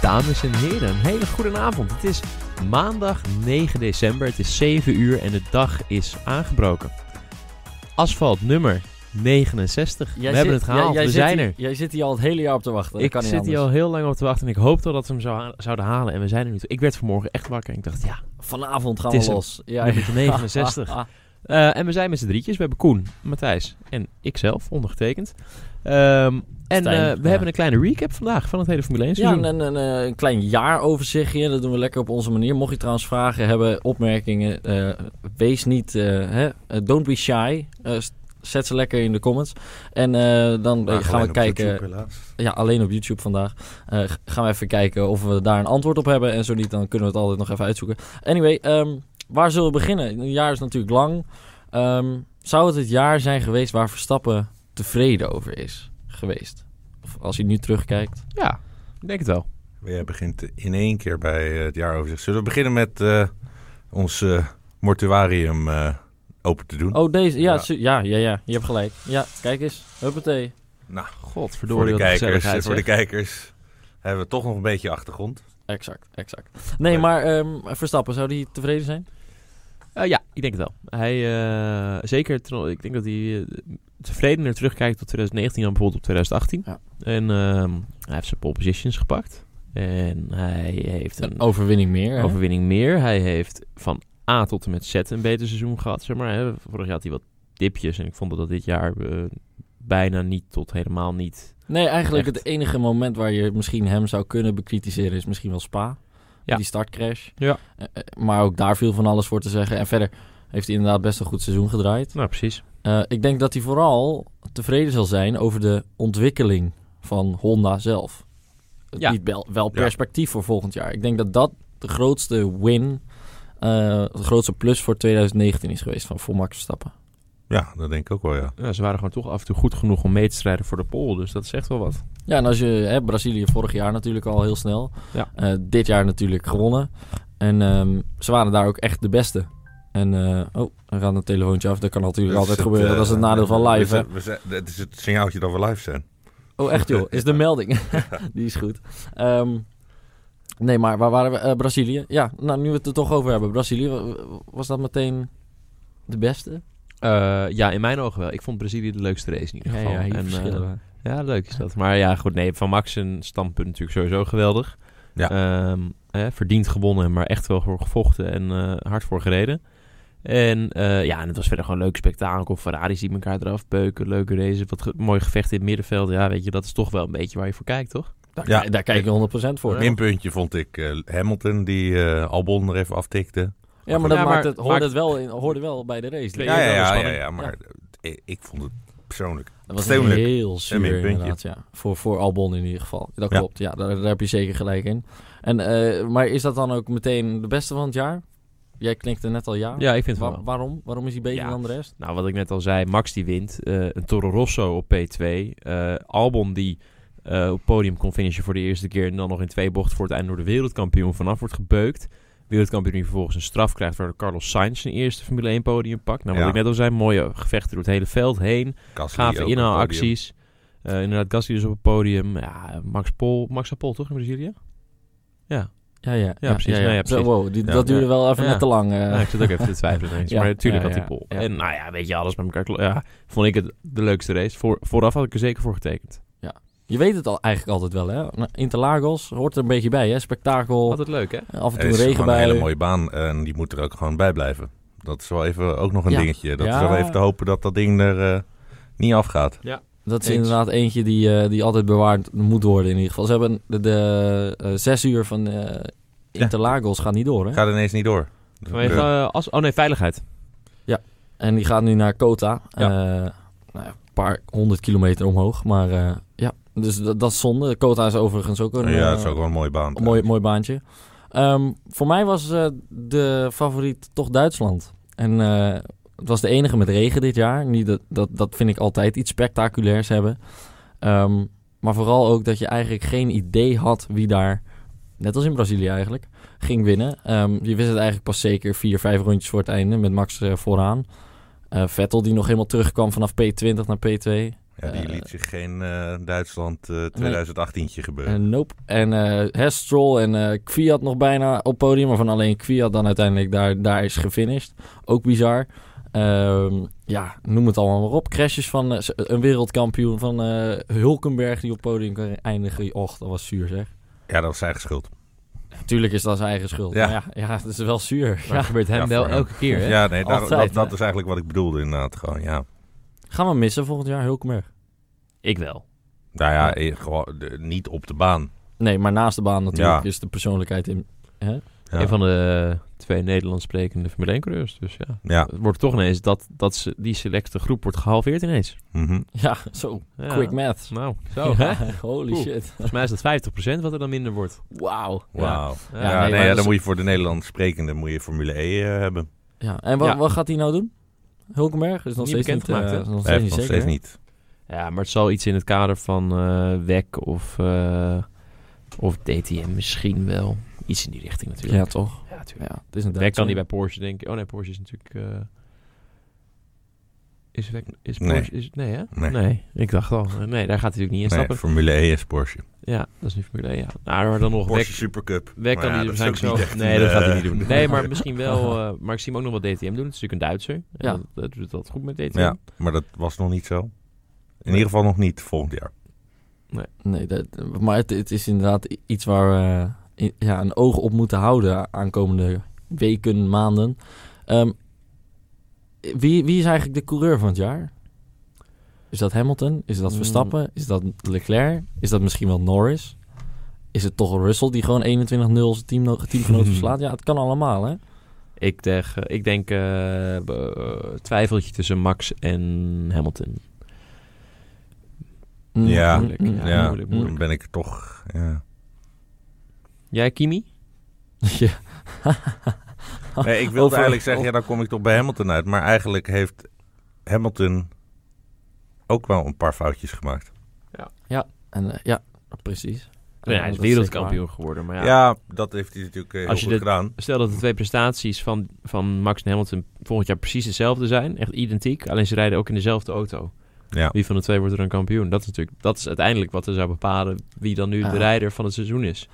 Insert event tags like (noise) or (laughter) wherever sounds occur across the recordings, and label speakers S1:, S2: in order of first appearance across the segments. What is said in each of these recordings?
S1: dames en heren, een hele goede avond. Het is maandag 9 december, het is 7 uur en de dag is aangebroken. Asfalt nummer 69. We
S2: Jij
S1: hebben
S2: zit-
S1: het gehaald,
S2: jij- jij
S1: we
S2: zit
S1: zijn
S2: hier-
S1: er.
S2: Jij zit hier al het hele jaar op te wachten. Dat
S1: Ik
S2: kan niet
S1: zit hier al
S2: anders.
S1: heel lang op te wachten en ik hoopte al dat we hem zou ha- zouden halen. En we zijn er nu. toe. Ik werd vanmorgen echt wakker en ik dacht, ja,
S2: Vanavond gaan
S1: Het is
S2: we
S1: hem.
S2: los. Ja, (laughs)
S1: nummertje 69. Eh, en we zijn met z'n drietjes. We hebben Koen, Matthijs en ikzelf, ondergetekend. Ehm, en
S2: Stijn,
S1: eh, we
S2: ja.
S1: hebben een kleine recap vandaag van het hele Formule 1
S2: Ja,
S1: seizoen.
S2: en een, een, eh, een klein jaaroverzichtje. Dat doen we lekker op onze manier. Mocht je trouwens vragen hebben, opmerkingen, eh, wees niet, eh, hè, eh, don't be shy. Eh, s- zet ze lekker in de comments. En eh, dan eh,
S3: Maar
S2: gaan
S3: alleen
S2: we
S3: op
S2: kijken.
S3: YouTube, helaas.
S2: ja, alleen op YouTube vandaag. Eh, g- gaan we even kijken of we daar een antwoord op hebben. En zo niet, dan kunnen we het altijd nog even uitzoeken. Anyway, ehm, waar zullen we beginnen? Een jaar is natuurlijk lang. Ehm, zou het het jaar zijn geweest waar Verstappen tevreden over is geweest? Of als hij nu terugkijkt.
S1: Ja, ik denk het wel.
S3: Jij begint in één keer bij eh, het jaaroverzicht. Zullen we beginnen met eh, ons eh, mortuarium eh, open te doen?
S2: Oh, deze. Ja,
S3: Ja.
S2: su- ja. ja, ja, Je hebt gelijk. Ja, kijk eens. Huppatee.
S3: nou,
S1: Godverdorie,
S3: voor de,
S1: wat een
S3: kijkers,
S1: gezelligheid,
S3: voor de
S1: zeg.
S3: kijkers hebben we toch nog een beetje achtergrond.
S2: Exact, exact. Nee,
S3: Leuk.
S2: maar ehm, Verstappen, zou die tevreden zijn?
S1: Eh, ja, ik denk het wel. Hij, eh, zeker, ten- ik denk dat hij eh, tevredener terugkijkt op 2019 dan bijvoorbeeld op 2018.
S2: Ja.
S1: En ehm, hij heeft zijn pole positions gepakt. En hij heeft een
S2: Een overwinning meer. hè?
S1: overwinning meer. Hij heeft van A tot en met Z een beter seizoen gehad, zeg maar. Hè. Vorig jaar had hij wat dipjes en ik vond dat dat dit jaar eh, bijna niet tot helemaal niet...
S2: Nee, eigenlijk
S1: Echt.
S2: het enige moment waar je misschien hem zou kunnen bekritiseren is misschien wel Spa.
S1: Ja.
S2: Die startcrash.
S1: Ja.
S2: Eh, eh, maar ook daar viel van alles voor te zeggen. En verder heeft hij inderdaad best een goed seizoen gedraaid.
S1: Nou, precies.
S2: Eh, ik denk dat hij vooral tevreden zal zijn over de ontwikkeling van Honda zelf.
S1: Ja.
S2: Ja. wel, wel
S3: Ja.
S2: perspectief voor volgend jaar. Ik denk dat dat de grootste win, eh de grootste plus voor 2019 is geweest van voor Max Verstappen.
S3: Ja, dat denk ik ook wel, ja.
S1: Ja, ze waren gewoon toch af en toe goed genoeg om mee te strijden voor de pole, dus dat zegt wel wat.
S2: Ja, en als je hè, Brazilië vorig jaar natuurlijk al heel snel.
S1: Ja.
S2: Eh, dit jaar natuurlijk gewonnen. En ehm, ze waren daar ook echt de beste. En eh, oh, dan gaat een telefoontje af. Dat kan natuurlijk
S3: Dat is
S2: altijd gebeuren.
S3: eh,
S2: dat is het nadeel van
S3: we
S2: live.
S3: zijn- we zijn- Het is het signaaltje dat we live zijn.
S2: hè? Oh, echt joh. Is
S3: (laughs)
S2: de melding. (laughs) Die is goed. Ehm, nee, maar waar waren we? Eh, Brazilië. Ja, nou nu we het er toch over hebben. Brazilië, wa- wa- was dat meteen de beste?
S1: Eh, ja, in mijn ogen wel. Ik vond Brazilië de leukste race in ieder geval. En, eh, Ja, leuk is dat. Maar ja, goed, nee, van Max een standpunt natuurlijk sowieso geweldig.
S3: Ja.
S1: Ehm, hè, verdiend gewonnen, maar echt wel voor gevochten en eh, hard voor gereden. En eh, ja, en het was verder gewoon een leuk spektakel. Ferraris die elkaar eraf beuken, leuke races, wat ge- mooi gevecht in het middenveld. Ja, weet je, dat is toch wel een beetje waar je voor kijkt, toch?
S2: Daar,
S3: Ja.
S2: daar kijk je 100% voor.
S3: Een minpuntje vond ik eh, Hamilton, die eh, Albon er even aftikte.
S2: Ja, maar
S1: Ja,
S2: dat
S1: maar-
S2: maakt het, hoorde,
S1: maakt-
S2: Het wel in, hoorde wel bij de race.
S1: Ja,
S3: Ja, ja,
S1: wel
S3: ja, ja,
S1: spanning.
S3: ja, maar Ik, ik vond het persoonlijk...
S2: Dat was
S3: Stedelijk.
S2: heel
S3: Een
S2: zuur
S3: minpuntje.
S2: inderdaad, ja. Voor, voor Albon in ieder geval. Dat
S3: Ja.
S2: klopt, ja. Daar, daar heb je zeker gelijk in. En, eh, maar is dat dan ook meteen de beste van het jaar? Jij knikte net al ja.
S1: Ja, ik vind het
S2: Wa-
S1: wel.
S2: waarom? Waarom is hij beter
S1: Ja.
S2: dan de rest?
S1: Nou, wat ik net al zei, Max die wint. eh, een Toro Rosso op P2. eh, Albon die eh, op het podium kon finishen voor de eerste keer... en dan nog in twee bochten voor het einde door de wereldkampioen vanaf wordt gebeukt. Wereldkampioen die vervolgens een straf krijgt... waardoor Carlos Sainz zijn eerste Formule 1 podium pakt. Nou, wat
S3: Ja.
S1: ik net al zei, mooie gevechten door het hele veld heen.
S3: Gasly ook
S1: Gave
S3: op het podium.
S1: inhaalacties. Eh, inderdaad, Gasly dus op het podium. Ja, Max Pol, Max Pol toch in Brazilië?
S2: Ja, ja.
S1: precies. Nee, ja, precies.
S2: Zo, wow, die,
S3: Ja.
S2: dat duurde
S1: Ja.
S2: wel even
S1: Ja.
S2: net te lang. eh.
S1: Nou, ik zit ook even
S2: (laughs)
S1: te twijfelen ineens.
S2: Ja,
S1: maar natuurlijk
S2: ja,
S1: had hij
S2: ja,
S1: Pol.
S2: ja.
S1: En nou ja, weet je, alles met elkaar... klo- Ja, vond ik het de leukste race. Voor, vooraf had ik er zeker voor getekend.
S2: Je weet het al, eigenlijk altijd wel, hè? Nou, Interlagos hoort er een beetje bij, hè? Spektakel, eh,
S1: Altijd leuk, hè?
S2: af en
S3: Het
S2: toe
S3: is
S2: regen
S3: gewoon een
S2: bij.
S3: hele mooie baan en die moet er ook gewoon bij blijven. Dat is wel even ook nog een
S2: Ja.
S3: dingetje. Dat
S2: Ja.
S3: is wel even te hopen dat dat ding er eh, niet afgaat.
S2: Dat is
S1: Eens.
S2: inderdaad eentje die, eh, die altijd bewaard moet worden in ieder geval. Ze hebben de, de eh, zes uur van eh, Interlagos gaat niet door, hè?
S3: Gaat ineens niet door.
S1: Vanwege
S3: Ja.
S1: eh, as... Oh nee, veiligheid.
S2: En die gaat nu naar Kota.
S1: Ja.
S2: Eh, nou ja, een paar honderd kilometer omhoog. Maar eh, ja, dus dat, dat is zonde. Kota is overigens ook een,
S3: ja,
S2: eh,
S3: dat is ook wel een mooie baan.
S2: een mooi, mooi baantje. Ehm, voor mij was eh, de favoriet toch Duitsland. En eh, het was de enige met regen dit jaar. Niet dat, dat, dat vind ik altijd iets spectaculairs hebben. Ehm, maar vooral ook dat je eigenlijk geen idee had wie daar, net als in Brazilië eigenlijk, ging winnen. Ehm, je wist het eigenlijk pas zeker vier, vijf rondjes voor het einde met Max eh, vooraan. Eh, Vettel die nog helemaal terugkwam vanaf P20 naar P2.
S3: Ja, die
S2: Eh,
S3: liet zich geen eh, Duitsland eh 2018-tje gebeuren.
S2: En nope. En eh hè, Stroll en eh Kwiat nog bijna op podium. Maar van alleen Kwiat dan uiteindelijk daar, daar is gefinished. Ook bizar. Ehm, ja, noem het allemaal maar op. Crashes van eh, z- een wereldkampioen van eh, Hulkenberg die op podium kan eindigen. Och, dat was zuur zeg.
S3: Ja, dat was zijn eigen schuld.
S2: Natuurlijk is dat zijn eigen schuld.
S3: Ja.
S2: Ja, ja, ja dat is wel zuur.
S1: Maar
S2: Ja.
S1: dat gebeurt hem
S3: Ja,
S1: wel
S3: voor hem.
S1: elke keer, hè?
S3: Ja, nee, daar-
S2: Altijd,
S3: dat, dat
S2: hè?
S3: is eigenlijk wat ik bedoelde inderdaad. Gewoon, ja.
S2: Gaan we missen volgend jaar Hulkenberg?
S1: Ik wel.
S3: Nou ja, eh, gewoon, eh, niet op de baan.
S2: Nee, maar naast de baan natuurlijk
S3: Ja.
S2: is de persoonlijkheid in.
S3: Ja,
S1: Een van de eh, twee Nederlands sprekende Formule 1 coureurs. Dus ja.
S3: ja.
S1: Het wordt toch ineens dat, dat ze, die selecte groep wordt gehalveerd ineens.
S3: mhm.
S2: Ja, zo.
S1: Ja.
S2: Quick math.
S1: Nou, zo hè?
S2: Ja, holy
S1: Oeh.
S2: shit.
S1: (laughs) Volgens mij is dat 50% wat er dan minder wordt.
S2: Wauw. Ja.
S3: Wauw. Ja,
S1: Ja,
S2: nee,
S3: nee,
S2: maar
S3: ja,
S2: dat
S3: dan
S2: is-
S3: moet je voor de Nederlands sprekende moet je Formule E eh, hebben.
S2: Ja, en wat,
S1: Ja.
S2: wat gaat hij nou doen? Hulkenberg is nog
S1: Niet
S2: steeds niet
S1: bekendgemaakt,
S2: eh,
S1: hè?
S2: is nog
S3: Hij
S2: steeds
S3: heeft
S2: niet
S3: nog
S2: zeker.
S3: steeds
S2: hè?
S3: niet.
S1: Ja, maar het zal iets in het kader van eh WEC of, eh, of DTM misschien wel. Iets in die richting
S2: Ja,
S1: natuurlijk.
S2: toch?
S1: Ja, natuurlijk.
S2: Ja, het is een
S1: WEC kan niet bij Porsche denk ik. Oh nee, Porsche is natuurlijk... eh, is WEC... Is
S3: Nee.
S1: Porsche... Is, nee hè?
S3: Nee.
S1: ik dacht al. eh, Nee, daar gaat hij natuurlijk niet in
S3: Nee,
S1: stappen.
S3: Formule E is Porsche.
S1: Ja, dat is nu Formule 1, ja. Nou, maar dan nog WEC
S3: Porsche Supercup.
S1: Wij
S3: Maar
S1: kan
S3: ja,
S1: die
S3: dat is
S1: waarschijnlijk
S3: ook
S1: zo.
S3: niet echt
S1: nee,
S3: een,
S1: dat gaat hij
S3: eh,
S1: niet
S3: (laughs)
S1: doen. Nee, maar misschien wel. eh, maar ik zie hem ook nog wel DTM doen. Het is natuurlijk een Duitser. En
S2: Ja.
S1: Dat, dat doet dat goed met DTM.
S3: Ja, maar dat was nog niet zo. In ieder geval nog niet volgend jaar.
S2: Nee, dat, maar het, het is inderdaad i- iets waar we eh, i- ja, een oog op moeten houden aankomende weken, maanden. Ehm, wie, wie is eigenlijk de coureur van het jaar? Is dat Hamilton? Is dat
S1: Hmm.
S2: Verstappen? Is dat Leclerc? Is dat misschien wel Norris? Is het toch Russell die gewoon 21-0 zijn teamno-
S3: (laughs)
S2: teamgenoot verslaat? Ja, het kan allemaal, hè?
S1: Ik, deg, ik denk eh, be- eh, twijfeltje tussen Max en Hamilton.
S2: Mm,
S3: Ja.
S2: mm,
S1: Moeilijk,
S2: mm,
S1: Ja,
S3: Ja,
S2: mm.
S1: moeilijk,
S3: dan
S1: moeilijk.
S3: ben ik toch...
S1: (laughs)
S3: Ja.
S1: Jij, Kimi?
S2: Ja.
S3: Nee, ik wilde
S2: Over-
S3: eigenlijk zeggen, ja, dan kom ik toch bij Hamilton uit. Maar eigenlijk heeft Hamilton ook wel een paar foutjes gemaakt.
S2: En, eh, ja, precies.
S1: Nee, hij is
S2: Ja, dat zeker
S1: wereldkampioen geworden. Maar
S3: Ja,
S1: ja,
S3: dat heeft hij natuurlijk eh, heel
S1: Als je
S3: goed
S1: dit-
S3: gedaan.
S1: stel dat de twee prestaties van, van Max en Hamilton volgend jaar precies dezelfde zijn. Echt identiek. Alleen ze rijden ook in dezelfde auto.
S3: Ja.
S1: Wie van de twee wordt er een kampioen? Dat is natuurlijk dat is uiteindelijk wat er zou bepalen wie dan nu
S2: Ja.
S1: de rijder van het seizoen is.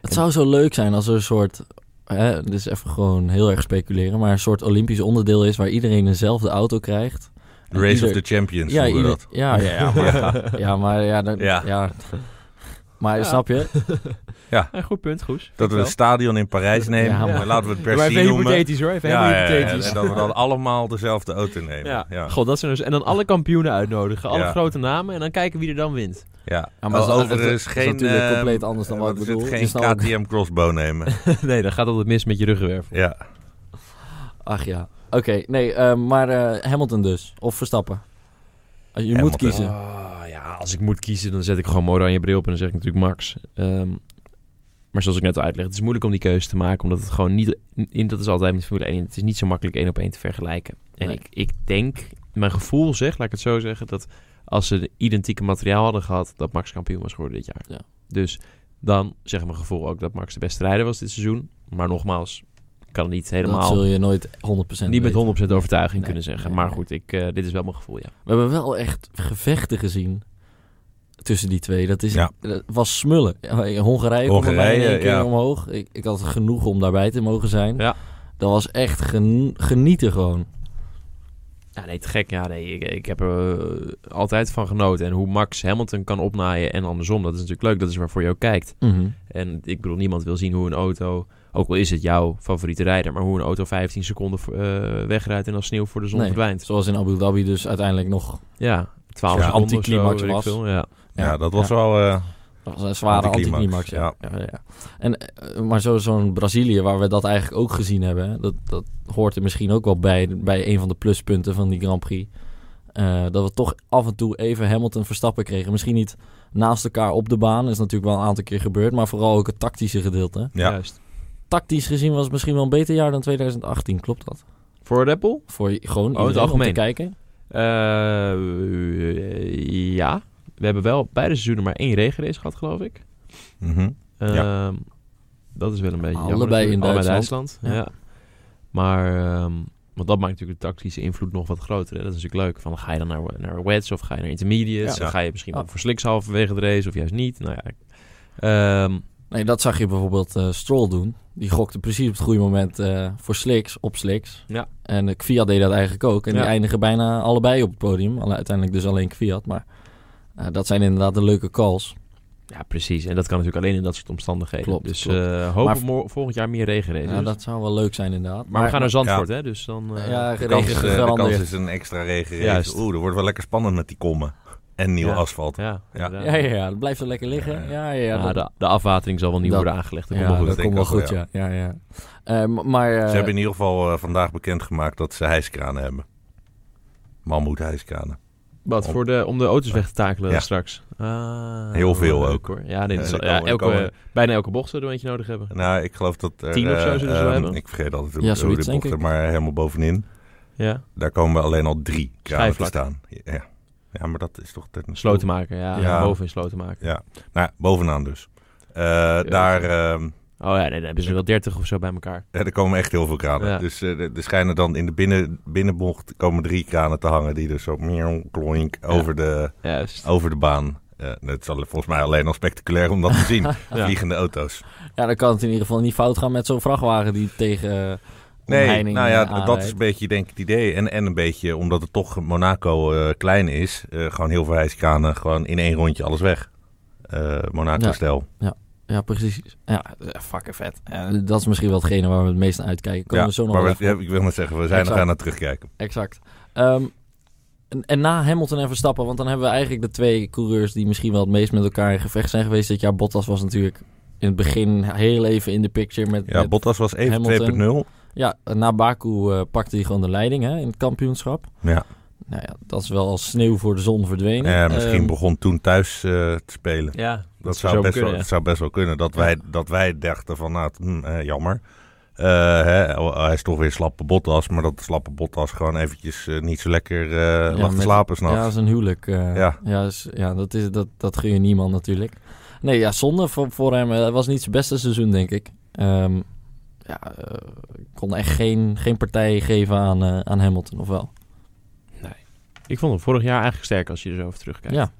S2: Het zou zo leuk zijn als er een soort... Hè, dit is even gewoon heel erg speculeren... maar een soort Olympisch onderdeel is... waar iedereen dezelfde auto krijgt.
S3: De Race
S2: Ieder-
S3: of the Champions
S2: Ja,
S3: noemen we
S2: ieder-
S3: dat.
S2: ja, ja, ja, maar... ja, maar... Ja, dan, ja.
S3: Ja.
S2: Maar
S1: Ja.
S2: snap je?
S1: (laughs) Ja, goed punt, Goes.
S3: Dat we een stadion in Parijs nemen.
S2: Ja,
S3: maar
S2: maar-
S3: laten
S1: (laughs)
S3: we het
S1: Ja, maar
S3: Bercy
S1: even
S3: noemen.
S1: hypothetisch hoor, even
S3: Ja,
S1: helemaal
S3: ja, ja,
S1: hypothetisch.
S3: en dat we dan allemaal dezelfde auto nemen.
S1: Ja.
S3: Ja, ja.
S1: God, dat zijn dus, en dan alle kampioenen uitnodigen, alle
S3: Ja.
S1: grote namen, en dan kijken wie er dan wint. (laughs)
S2: maar dat is- dat
S3: overigens
S2: is
S3: geen...
S2: natuurlijk
S3: eh,
S2: compleet anders dan wat ik
S3: is het,
S2: bedoel.
S3: Geen
S2: Is nou ook-
S3: KTM Crossbow nemen.
S1: nee, dan gaat altijd mis met je ruggenwervel.
S3: ja.
S2: Ach ja. Oké, nee, eh, maar eh, Hamilton dus. Of Verstappen. Ah, Je moet
S3: Hamilton.
S2: kiezen.
S1: Ah, ja, als ik moet kiezen, dan zet ik gewoon mijn oranje bril op en dan zeg ik natuurlijk Max. Ehm, maar zoals ik net al uitleg, het is moeilijk om die keuze te maken, omdat het gewoon niet... In, dat is altijd met Formule 1, het is niet zo makkelijk één op één te vergelijken. En
S2: Nee.
S1: ik, ik denk, mijn gevoel zegt, laat ik het zo zeggen, dat als ze de identieke materiaal hadden gehad, dat Max kampioen was geworden dit jaar.
S2: Ja.
S1: Dus dan zegt mijn gevoel ook dat Max de beste rijder was dit seizoen. Maar nogmaals, ik kan het niet
S2: Dat
S1: helemaal
S2: zul je nooit 100%
S1: Niet met
S2: weten.
S1: 100% overtuiging
S2: Nee,
S1: kunnen zeggen.
S2: nee,
S1: maar
S2: nee.
S1: goed, ik, eh, dit is wel mijn gevoel, ja.
S2: We hebben wel echt gevechten gezien tussen die twee. Dat, is,
S3: Ja.
S2: dat was smullen. Ja, in Hongarije, kwam er
S3: Hongarije,
S2: bijna één keer
S3: ja.
S2: omhoog. Ik, ik had het genoeg om daarbij te mogen zijn.
S1: Ja.
S2: Dat was echt gen- genieten gewoon.
S1: Ja, nee, te gek. Ja, nee, ik, ik heb er eh, altijd van genoten. En hoe Max Hamilton kan opnaaien en andersom, dat is natuurlijk leuk. Dat is waarvoor je ook kijkt.
S3: Mhm.
S1: En ik bedoel, niemand wil zien hoe een auto, ook al is het jouw favoriete rijder, maar hoe een auto 15 seconden eh, wegrijdt en als sneeuw voor de zon
S2: Nee.
S1: verdwijnt.
S2: Zoals in Abu Dhabi dus uiteindelijk nog.
S1: Ja, 12
S3: Ja,
S1: seconden of zo,
S2: anticlimax
S1: weet ik
S2: was.
S1: veel, Ja.
S3: Ja, dat was wel... eh,
S2: dat was een zware
S3: Anticlimax,
S2: anticlimax. ja. Ja. Ja, En, eh, maar zo- zo'n Brazilië, waar we dat eigenlijk ook gezien hebben... hè, Dat, dat hoort er misschien ook wel bij, bij een van de pluspunten van die Grand Prix. Eh, dat we toch af en toe even Hamilton Verstappen kregen. Misschien niet naast elkaar op de baan. is natuurlijk wel een aantal keer gebeurd. Maar vooral ook het tactische gedeelte.
S3: ja.
S1: Juist.
S2: Tactisch gezien was het misschien wel een beter jaar dan 2018. Klopt dat?
S1: Voor Red Bull?
S2: Voor je- gewoon
S1: het
S2: iedereen om te
S1: algemeen.
S2: kijken.
S1: Eh, ja. We hebben wel beide seizoenen maar één regenrace gehad, geloof ik.
S3: mhm. Ja.
S1: Ehm, dat is wel een beetje
S2: Allebei
S1: jammer. natuurlijk.
S2: in
S1: Allebei
S2: Duitsland.
S1: Duitsland. Ja. Maar ehm, Want dat maakt natuurlijk de tactische invloed nog wat groter. Hè? Dat is natuurlijk leuk. Van, ga je dan naar, naar wets of ga je naar intermediates?
S3: Ja.
S1: Of ga je misschien
S2: Ja.
S1: wel voor slicks halverwege de race of juist niet? Nou ja. Ehm,
S2: Nee, dat zag je bijvoorbeeld eh, Stroll doen. Die gokte precies op het goede moment eh, voor Slicks, op Slicks.
S1: Ja.
S2: En eh, Kvyat deed dat eigenlijk ook. En
S1: Ja.
S2: die eindigen bijna allebei op het podium. Alle- Uiteindelijk dus alleen Kvyat. Maar eh, dat zijn inderdaad de leuke calls.
S1: ja, precies. En dat kan natuurlijk alleen in dat soort omstandigheden.
S2: Klopt,
S1: dus
S2: klopt.
S1: eh, hopen
S2: Maar-
S1: mor- volgend jaar meer regenraces.
S2: Ja, dat zou wel leuk zijn inderdaad.
S1: maar, we gaan naar Zandvoort,
S3: Ja.
S1: hè? Dus dan... eh,
S2: Ja,
S3: De
S2: regen
S3: kans, eh, de kans
S2: gegarandeerd.
S3: is een extra
S1: Juist.
S3: regenrace. Oeh, dat wordt wel lekker spannend met die kommen. En nieuw
S1: Ja.
S3: asfalt.
S1: Ja,
S3: Ja.
S1: inderdaad.
S2: (laughs) Ja, ja, ja, dat blijft er lekker liggen. Ja, ja, ja.
S1: Ja,
S2: dat-
S1: de, de afwatering zal wel niet
S2: Dat-
S1: worden aangelegd. Dat
S2: ja,
S1: komt wel goed.
S2: dat
S3: denk
S2: komt
S3: ik
S2: wel
S3: ook
S2: goed,
S3: wel,
S2: ja. ja, ja, Eh, m- maar... eh,
S3: Ze hebben in ieder geval eh, vandaag bekendgemaakt dat ze hijskranen hebben. Mammoet hijskranen.
S1: Wat, voor de, om de auto's weg te takelen
S3: Ja.
S1: straks? Ah,
S3: Heel veel
S1: leuk,
S3: ook.
S1: Hoor. Ja, nee, dat
S3: Ja,
S1: zal-
S3: er
S1: ja,
S3: komen- er
S1: elke,
S3: komen-
S1: bijna elke bocht zullen we eentje nodig hebben.
S3: Nou, ik geloof dat er...
S1: Tien of zo
S3: eh,
S1: zullen ze wel
S3: eh,
S1: hebben.
S3: Ik vergeet altijd
S2: Ja,
S3: hoe de
S2: zoiets, denk
S3: bochten,
S2: ik.
S3: maar helemaal bovenin.
S1: Ja,
S3: Daar komen we alleen al drie kranen te
S1: Schijfvlak.
S3: staan. Ja. ja, maar dat is toch... Dat is
S1: slotenmaker. Ja,
S3: Ja.
S1: boven in slotenmaker.
S3: Nou, bovenaan dus. Eh, daar, ehm,
S1: Oh ja, nee, dan hebben ze wel 30 of zo bij elkaar.
S3: ja, er komen echt heel veel kranen.
S1: Ja.
S3: Dus eh, er er schijnen dan in de binnen, binnenbocht komen drie kranen te hangen... die dus zo miauw, kloink, over de...
S1: Juist.
S3: over de baan. Eh het is al- volgens mij alleen al spectaculair om dat te
S2: (laughs)
S3: zien. Vliegende auto's.
S2: Ja, dan kan het in ieder geval niet fout gaan met zo'n vrachtwagen die tegen eh,
S3: Nee,
S2: omheining,
S3: nou ja,
S2: eh,
S3: d- dat
S2: aanrijdt.
S3: is een beetje denk ik het idee. En, en een beetje, omdat het toch Monaco eh, klein is, eh, gewoon heel veel ijskranen, gewoon in één rondje alles weg. Eh, Monaco-stijl.
S2: Ja, precies. Ja, eh, fucking vet. Eh, dat is misschien wel hetgene waar we het meest naar uitkijken. Komen we zo nog
S3: maar
S2: wel
S3: we- ja, ik wil net zeggen, we zijn nog
S2: Exact.
S3: aan het terugkijken.
S2: Exact. Ehm, en, en na Hamilton en Verstappen, want dan hebben we eigenlijk de twee coureurs die misschien wel het meest met elkaar in gevecht zijn geweest. Dit jaar Bottas was natuurlijk in het begin heel even in de picture. Met,
S3: Ja,
S2: met-
S3: Bottas was even
S2: Hamilton.
S3: 2.0.
S2: ja na Baku eh, pakte hij gewoon de leiding hè, in het kampioenschap.
S3: Ja,
S2: Nou ja, dat is wel als sneeuw voor de zon verdwenen.
S3: eh, misschien
S2: Ehm,
S3: begon toen thuis eh, te spelen.
S1: Ja, dat,
S3: Dat zou, best wel, het zou best wel kunnen. Dat wij, dat wij dachten van, nou, het- hm, eh, jammer. Eh, hè, oh, hij is toch weer slappe Bottas. Maar dat de slappe Bottas gewoon eventjes eh, niet zo lekker eh, lag te
S2: met-
S3: slapen s'nachts.
S2: Ja, dat is een huwelijk. eh,
S3: Ja.
S2: ja. is- ja, dat, is, dat, dat gun je niemand natuurlijk. Nee, ja, zonde voor, voor hem. Het was niet zijn beste seizoen, denk ik. Ehm, ja, eh, ik kon echt geen, geen partij geven aan, eh, aan Hamilton, of wel?
S1: Ik vond hem vorig jaar eigenlijk sterk als je er zo over terugkijkt.
S2: Ja.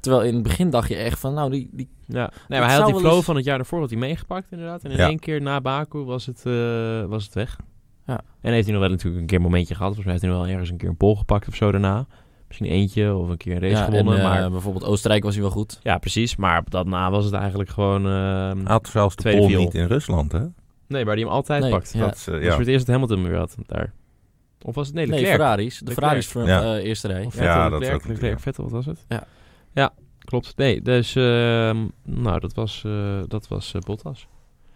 S2: Terwijl in het begin dacht je echt van, nou, die... die
S1: Ja. Nee,
S2: Het
S1: maar hij
S2: zou
S1: had die
S2: wel
S1: flow
S2: eens-
S1: van het jaar daarvoor had hij meegepakt inderdaad. En in
S3: Ja.
S1: één keer na Baku was het, eh, was het weg.
S2: Ja.
S1: En heeft hij nog wel natuurlijk een keer een momentje gehad. Volgens mij heeft hij nog wel ergens een keer een pol gepakt of zo daarna. Misschien eentje of een keer een race
S2: ja,
S1: gewonnen.
S2: en, eh,
S1: maar,
S2: bijvoorbeeld Oostenrijk was hij wel goed.
S1: ja, precies. Maar op dat na was het eigenlijk gewoon... ehm,
S3: Hij had zelfs de
S1: Tweede
S3: pol
S1: wiel.
S3: niet in Rusland, hè?
S1: nee, waar hij hem altijd
S2: Nee,
S1: pakt.
S2: ja.
S3: Dat, is, eh,
S1: Dat is
S3: ja.
S1: voor het eerst dat Hamilton hem weer had daar. Of was het nee,
S2: Nee,
S1: Leclerc?
S2: Ferraris. De
S1: Leclerc.
S2: Ferraris van
S3: Ja.
S2: eh, eerste rij. (laughs)
S1: Of
S3: Ja,
S1: Vettel,
S3: dat is
S1: Leclerc,
S3: ook natuurlijk,
S1: Leclerc,
S3: ja.
S1: Vettel, wat was het?
S2: Ja.
S1: Ja, klopt. Nee, dus... ehm, nou, dat was, eh, dat was eh, Bottas.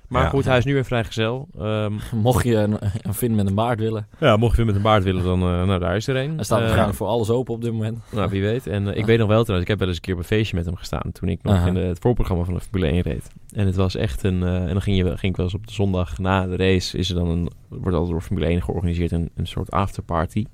S1: Maar
S3: Ja.
S1: goed, hij is nu weer vrijgezel. Ehm
S2: Mocht je een, een Finn met een baard willen.
S1: Ja, mocht je weer met een baard willen, dan eh, nou, daar is er een.
S2: Hij staat
S1: Eh,
S2: waarschijnlijk voor alles open op dit moment. Oh,
S1: Nou, wie weet. En eh, ik weet nog wel trouwens, ik heb wel eens een keer op een feestje met hem gestaan. Toen ik nog
S2: Aha.
S1: in de- het voorprogramma van de Formule 1 reed. En het was echt een... eh, en dan ging, je, wel- ging ik wel eens op de zondag na de race. Is er dan een, wordt altijd door Formule 1 georganiseerd een, een soort afterparty.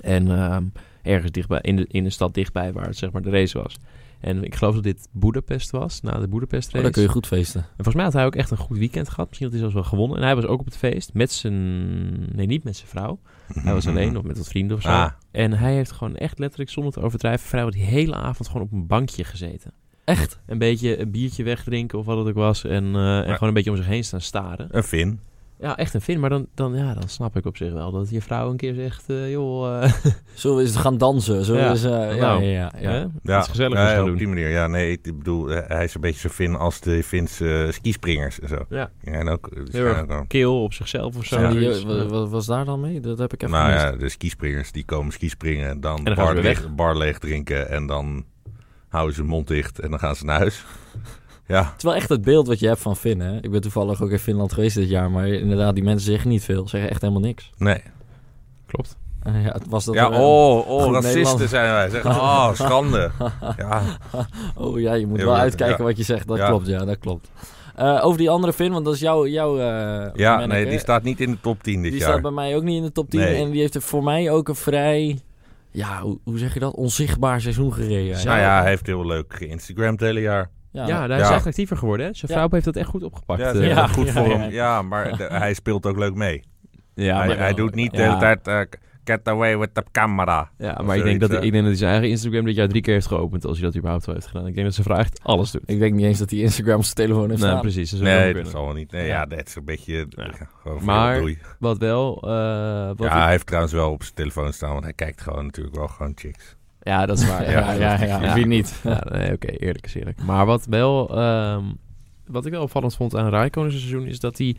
S1: En ehm, ergens dichtbij, in de, in de stad dichtbij waar het, zeg maar de race was. En ik geloof dat dit Boedapest was, na de Boedapest
S2: Oh,
S1: race.
S2: dan kun je goed feesten.
S1: En volgens mij had hij ook echt een goed weekend gehad. Misschien had hij zelfs wel gewonnen. En hij was ook op het feest met zijn... Nee, niet met zijn vrouw. Hij
S2: (laughs)
S1: was alleen of met wat vrienden of zo.
S3: Ah,
S1: En hij heeft gewoon echt letterlijk, zonder te overdrijven, vrijwel die hele avond gewoon op een bankje gezeten.
S2: Echt?
S1: Een beetje een biertje wegdrinken of wat het ook was. En, eh, en gewoon een beetje om zich heen staan staren.
S3: een Fin.
S1: Ja, echt een vin. Maar dan, dan, ja, dan snap ik op zich wel dat je vrouw een keer zegt, eh, joh, eh,
S2: Zullen we eens gaan dansen? Zullen
S1: Ja.
S2: we eens... eh, ja,
S1: Nou.
S2: ja, ja, ja.
S1: (laughs) hè,
S3: Ja,
S1: iets gezelligs
S3: nee,
S1: gaan
S3: op
S1: doen.
S3: die manier. Ja, nee, ik bedoel, eh, hij is een beetje zo Fin als de Finse eh, skispringers en zo.
S1: Ja.
S3: En ook, eh, die
S1: Heel erg.
S3: schijnen ook-
S1: Keel op zichzelf of zo.
S2: Zijn die,
S1: Zoiets.
S2: eh, wa- wa- was daar dan mee? Dat heb ik even
S3: nou
S2: gemist.
S3: ja, de skispringers die komen skispringen en dan,
S1: dan gaan
S3: bar,
S1: ze weer
S3: leeg, bar leeg drinken en dan houden ze hun mond dicht en dan gaan ze naar huis. (laughs) ja,
S2: Het is wel echt het beeld wat je hebt van Finn, hè? Ik ben toevallig ook in Finland geweest dit jaar, maar inderdaad, die mensen zeggen niet veel. Zeggen echt helemaal niks. (laughs)
S3: nee.
S1: Klopt.
S2: Eh, Ja, het was dat
S3: ja,
S2: er, eh,
S3: oh, oh
S2: goed
S3: racisten
S2: Nederland.
S3: zijn wij. Zeg, oh, schande. Ja,
S2: (laughs) oh ja, je moet
S3: Ja,
S2: wel
S3: ja,
S2: uitkijken
S3: ja.
S2: wat je zegt. Dat
S3: Ja.
S2: klopt, ja, dat klopt. Eh, over die andere Finn, want dat is jouw... jouw eh,
S3: ja
S2: manneke.
S3: nee, die staat niet in de top 10 dit
S2: Die
S3: jaar.
S2: staat bij mij ook niet in de top 10
S3: Nee.
S2: en die heeft er voor mij ook een vrij... Ja, hoe, hoe zeg je dat? Onzichtbaar seizoen gereden.
S1: Ja,
S3: Nou ja, hij heeft heel leuk geïnstagramd het hele jaar.
S1: Ja,
S2: ja,
S1: daar hij is
S3: Ja.
S1: echt actiever geworden. Hè? Zijn
S2: Ja.
S1: vrouw heeft dat echt goed opgepakt.
S3: Ja,
S1: eh.
S3: ja, goed
S2: ja,
S1: (laughs)
S3: voor
S2: ja.
S3: hem. Ja, maar de- hij speelt ook leuk mee.
S1: Ja,
S3: hij,
S1: maar,
S3: hij doet niet de
S1: ja.
S3: hele tijd... eh, get away with the camera.
S1: ja,
S3: Of
S1: maar ik denk, dat,
S3: zoiets,
S1: ik denk dat zijn eigen Instagram dit jaar drie keer heeft geopend als hij dat überhaupt wel heeft gedaan. Ik denk dat ze vraag echt alles doet.
S2: Ik denk niet eens dat hij Instagram op zijn telefoon heeft
S1: nou,
S2: (laughs) staan.
S1: precies. Dat zou wel
S3: Nee, dat
S1: kunnen.
S3: zal wel niet. Nee,
S1: Ja.
S3: ja, dat is een beetje...
S1: Ja.
S3: ja, gewoon
S1: Maar-
S3: maar... Doei.
S1: Wat wel... eh, wat
S3: Ja, hij heeft trouwens wel op zijn telefoon staan, want hij kijkt gewoon natuurlijk wel gewoon chicks.
S1: Ja, dat is
S2: (laughs)
S1: waar. ja, ja, ja,
S2: Wie niet?
S1: Ja, nee, oké, eerlijk is eerlijk. Maar wat wel, ehm, wat ik wel opvallend vond aan Raikkonen's seizoen is dat hij,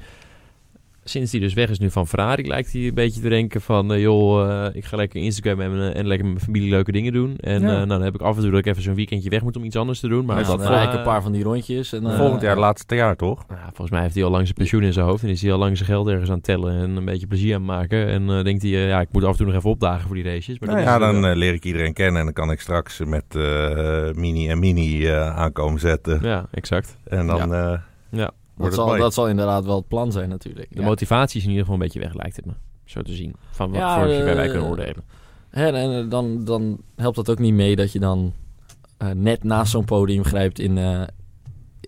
S1: sinds hij dus weg is nu van Ferrari, lijkt hij een beetje te denken van, eh, joh, eh, ik ga lekker Instagram en, eh, en lekker met mijn familie leuke dingen doen. En
S2: Ja.
S1: eh, nou, dan heb ik af en toe dat ik even zo'n weekendje weg moet om iets anders te doen. Maar
S2: Maar
S1: dat eh,
S2: dan rijd ik een paar van die rondjes. En, eh,
S3: Volgend jaar laatste jaar, toch?
S1: nou, volgens mij heeft hij al lang zijn pensioen in zijn hoofd en is hij al lang zijn geld ergens aan het tellen en een beetje plezier aan het maken. En eh, denkt hij, eh, ja, ik moet af en toe nog even opdagen voor die races. Maar
S3: Nou
S1: dat
S3: ja,
S1: is, eh,
S3: dan eh, leer ik iedereen kennen en dan kan ik straks met eh, Mini en Mini eh, aankomen zetten.
S1: ja, exact.
S3: En dan eh,
S1: Ja.
S3: wordt
S2: dat,
S3: het
S2: zal,
S3: mooi.
S2: dat zal inderdaad wel het plan zijn natuurlijk.
S1: De
S2: Ja.
S1: motivatie is in ieder geval een beetje weg, lijkt het me. Zo te zien. Van wat
S2: Ja,
S1: voor je bij wij
S2: eh,
S1: kunnen oordelen.
S2: Hè, en eh, dan, dan helpt dat ook niet mee dat je dan eh, net naast zo'n podium grijpt in, eh,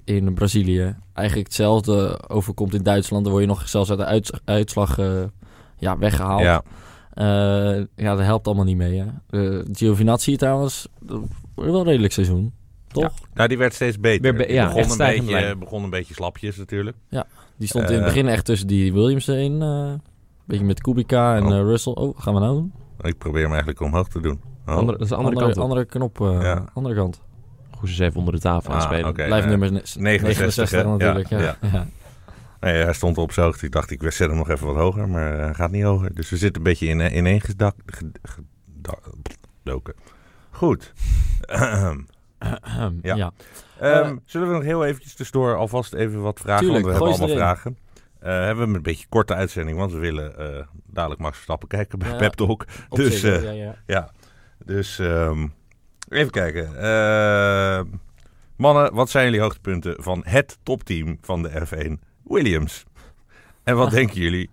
S2: in Brazilië. Eigenlijk hetzelfde overkomt in Duitsland. Dan word je nog zelfs uit de uits- uitslag eh, ja, weggehaald.
S3: Ja,
S2: Eh, ja, dat helpt allemaal niet mee. Hè? Eh, Giovinazzi trouwens, eh, wel een redelijk seizoen. Toch?
S3: nou, die werd steeds beter.
S1: Weer be-
S3: Die
S1: ja,
S3: begon,
S1: echt
S3: een
S1: stijgende
S3: beetje,
S1: lijn.
S3: begon een beetje slapjes natuurlijk.
S2: Die stond in het
S3: Eh.
S2: begin echt tussen die Williams heen. eh, beetje met Kubica en
S3: Oh.
S2: eh, Russell. Oh, gaan we nou doen?
S3: Ik probeer hem eigenlijk omhoog te doen. Oh.
S1: Andere, dat is de andere,
S2: andere,
S1: kant.
S2: andere knop. eh,
S3: Ja.
S2: andere kant.
S1: op. Goed, ze is even onder de tafel aan
S3: Ah,
S1: het spelen.
S3: oké.
S2: Blijf
S3: eh,
S2: nummer
S3: 69, hè?
S2: natuurlijk. Ja,
S3: Ja,
S2: ja.
S3: Nee, hij stond op zo hoog. Ik dacht, ik zet hem nog even wat hoger, maar hij gaat niet hoger. Dus we zitten een beetje in, ineengedoken. gedoken. Goed. (clears throat) Ehm,
S2: Ahem,
S3: (clears throat) Ja.
S2: ja.
S3: ehm, zullen we nog heel eventjes tussendoor alvast even wat vragen?
S2: Tuurlijk,
S3: want we
S2: gooi
S3: hebben
S2: ze
S3: allemaal vragen. Eh, hebben we een beetje korte uitzending, want we willen eh, dadelijk Max Verstappen kijken bij
S2: Ja.
S3: Pep Talk.
S2: Op
S3: Dus,
S2: zich,
S3: eh,
S2: ja, ja.
S3: Ja, dus ehm, even kijken. Ehm, mannen, wat zijn jullie hoogtepunten van het topteam van de F1, Williams? En wat denken jullie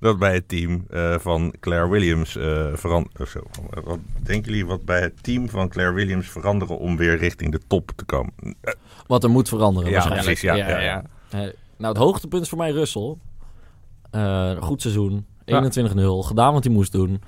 S3: dat bij het team eh, van Claire Williams eh veranderen? Of zo. Wat denken jullie wat bij het team van Claire Williams veranderen om weer richting de top te komen?
S2: Wat er moet veranderen
S3: Ja,
S2: waarschijnlijk.
S3: precies, ja, ja,
S2: Eh, nou, het hoogtepunt is voor mij Russell. Eh, goed seizoen. 21-0. Gedaan wat hij moest doen.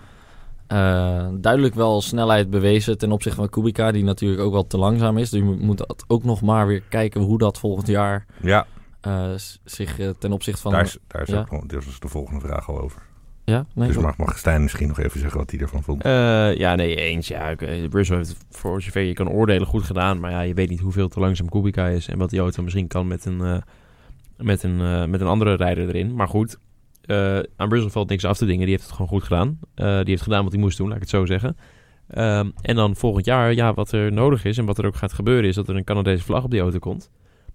S2: Eh, duidelijk wel snelheid bewezen ten opzichte van Kubica, die natuurlijk ook wel te langzaam is. Dus je moet- moet dat ook nog maar weer kijken hoe dat volgend jaar
S3: Ja,
S2: eh, s- zich eh, ten opzichte van...
S3: daar is, daar is
S2: ja.
S3: ook nog- dit was de volgende vraag al over.
S2: Ja, nee,
S3: Dus mag, mag Stijn misschien nog even zeggen wat hij ervan vond?
S1: Eh, ja, nee, eens. Ja, ik- eh, Russell heeft voor zover je kan oordelen goed gedaan. Maar ja, je weet niet hoeveel te langzaam Kubica is. En wat die auto misschien kan met een, eh, met een, eh, met een andere rijder erin. Maar goed, eh, aan Russell valt niks af te dingen. Die heeft het gewoon goed gedaan. Eh, die heeft gedaan wat hij moest doen, laat ik het zo zeggen. Ehm, en dan volgend jaar, ja, wat er nodig is en wat er ook gaat gebeuren... is dat er een Canadese vlag op die auto komt.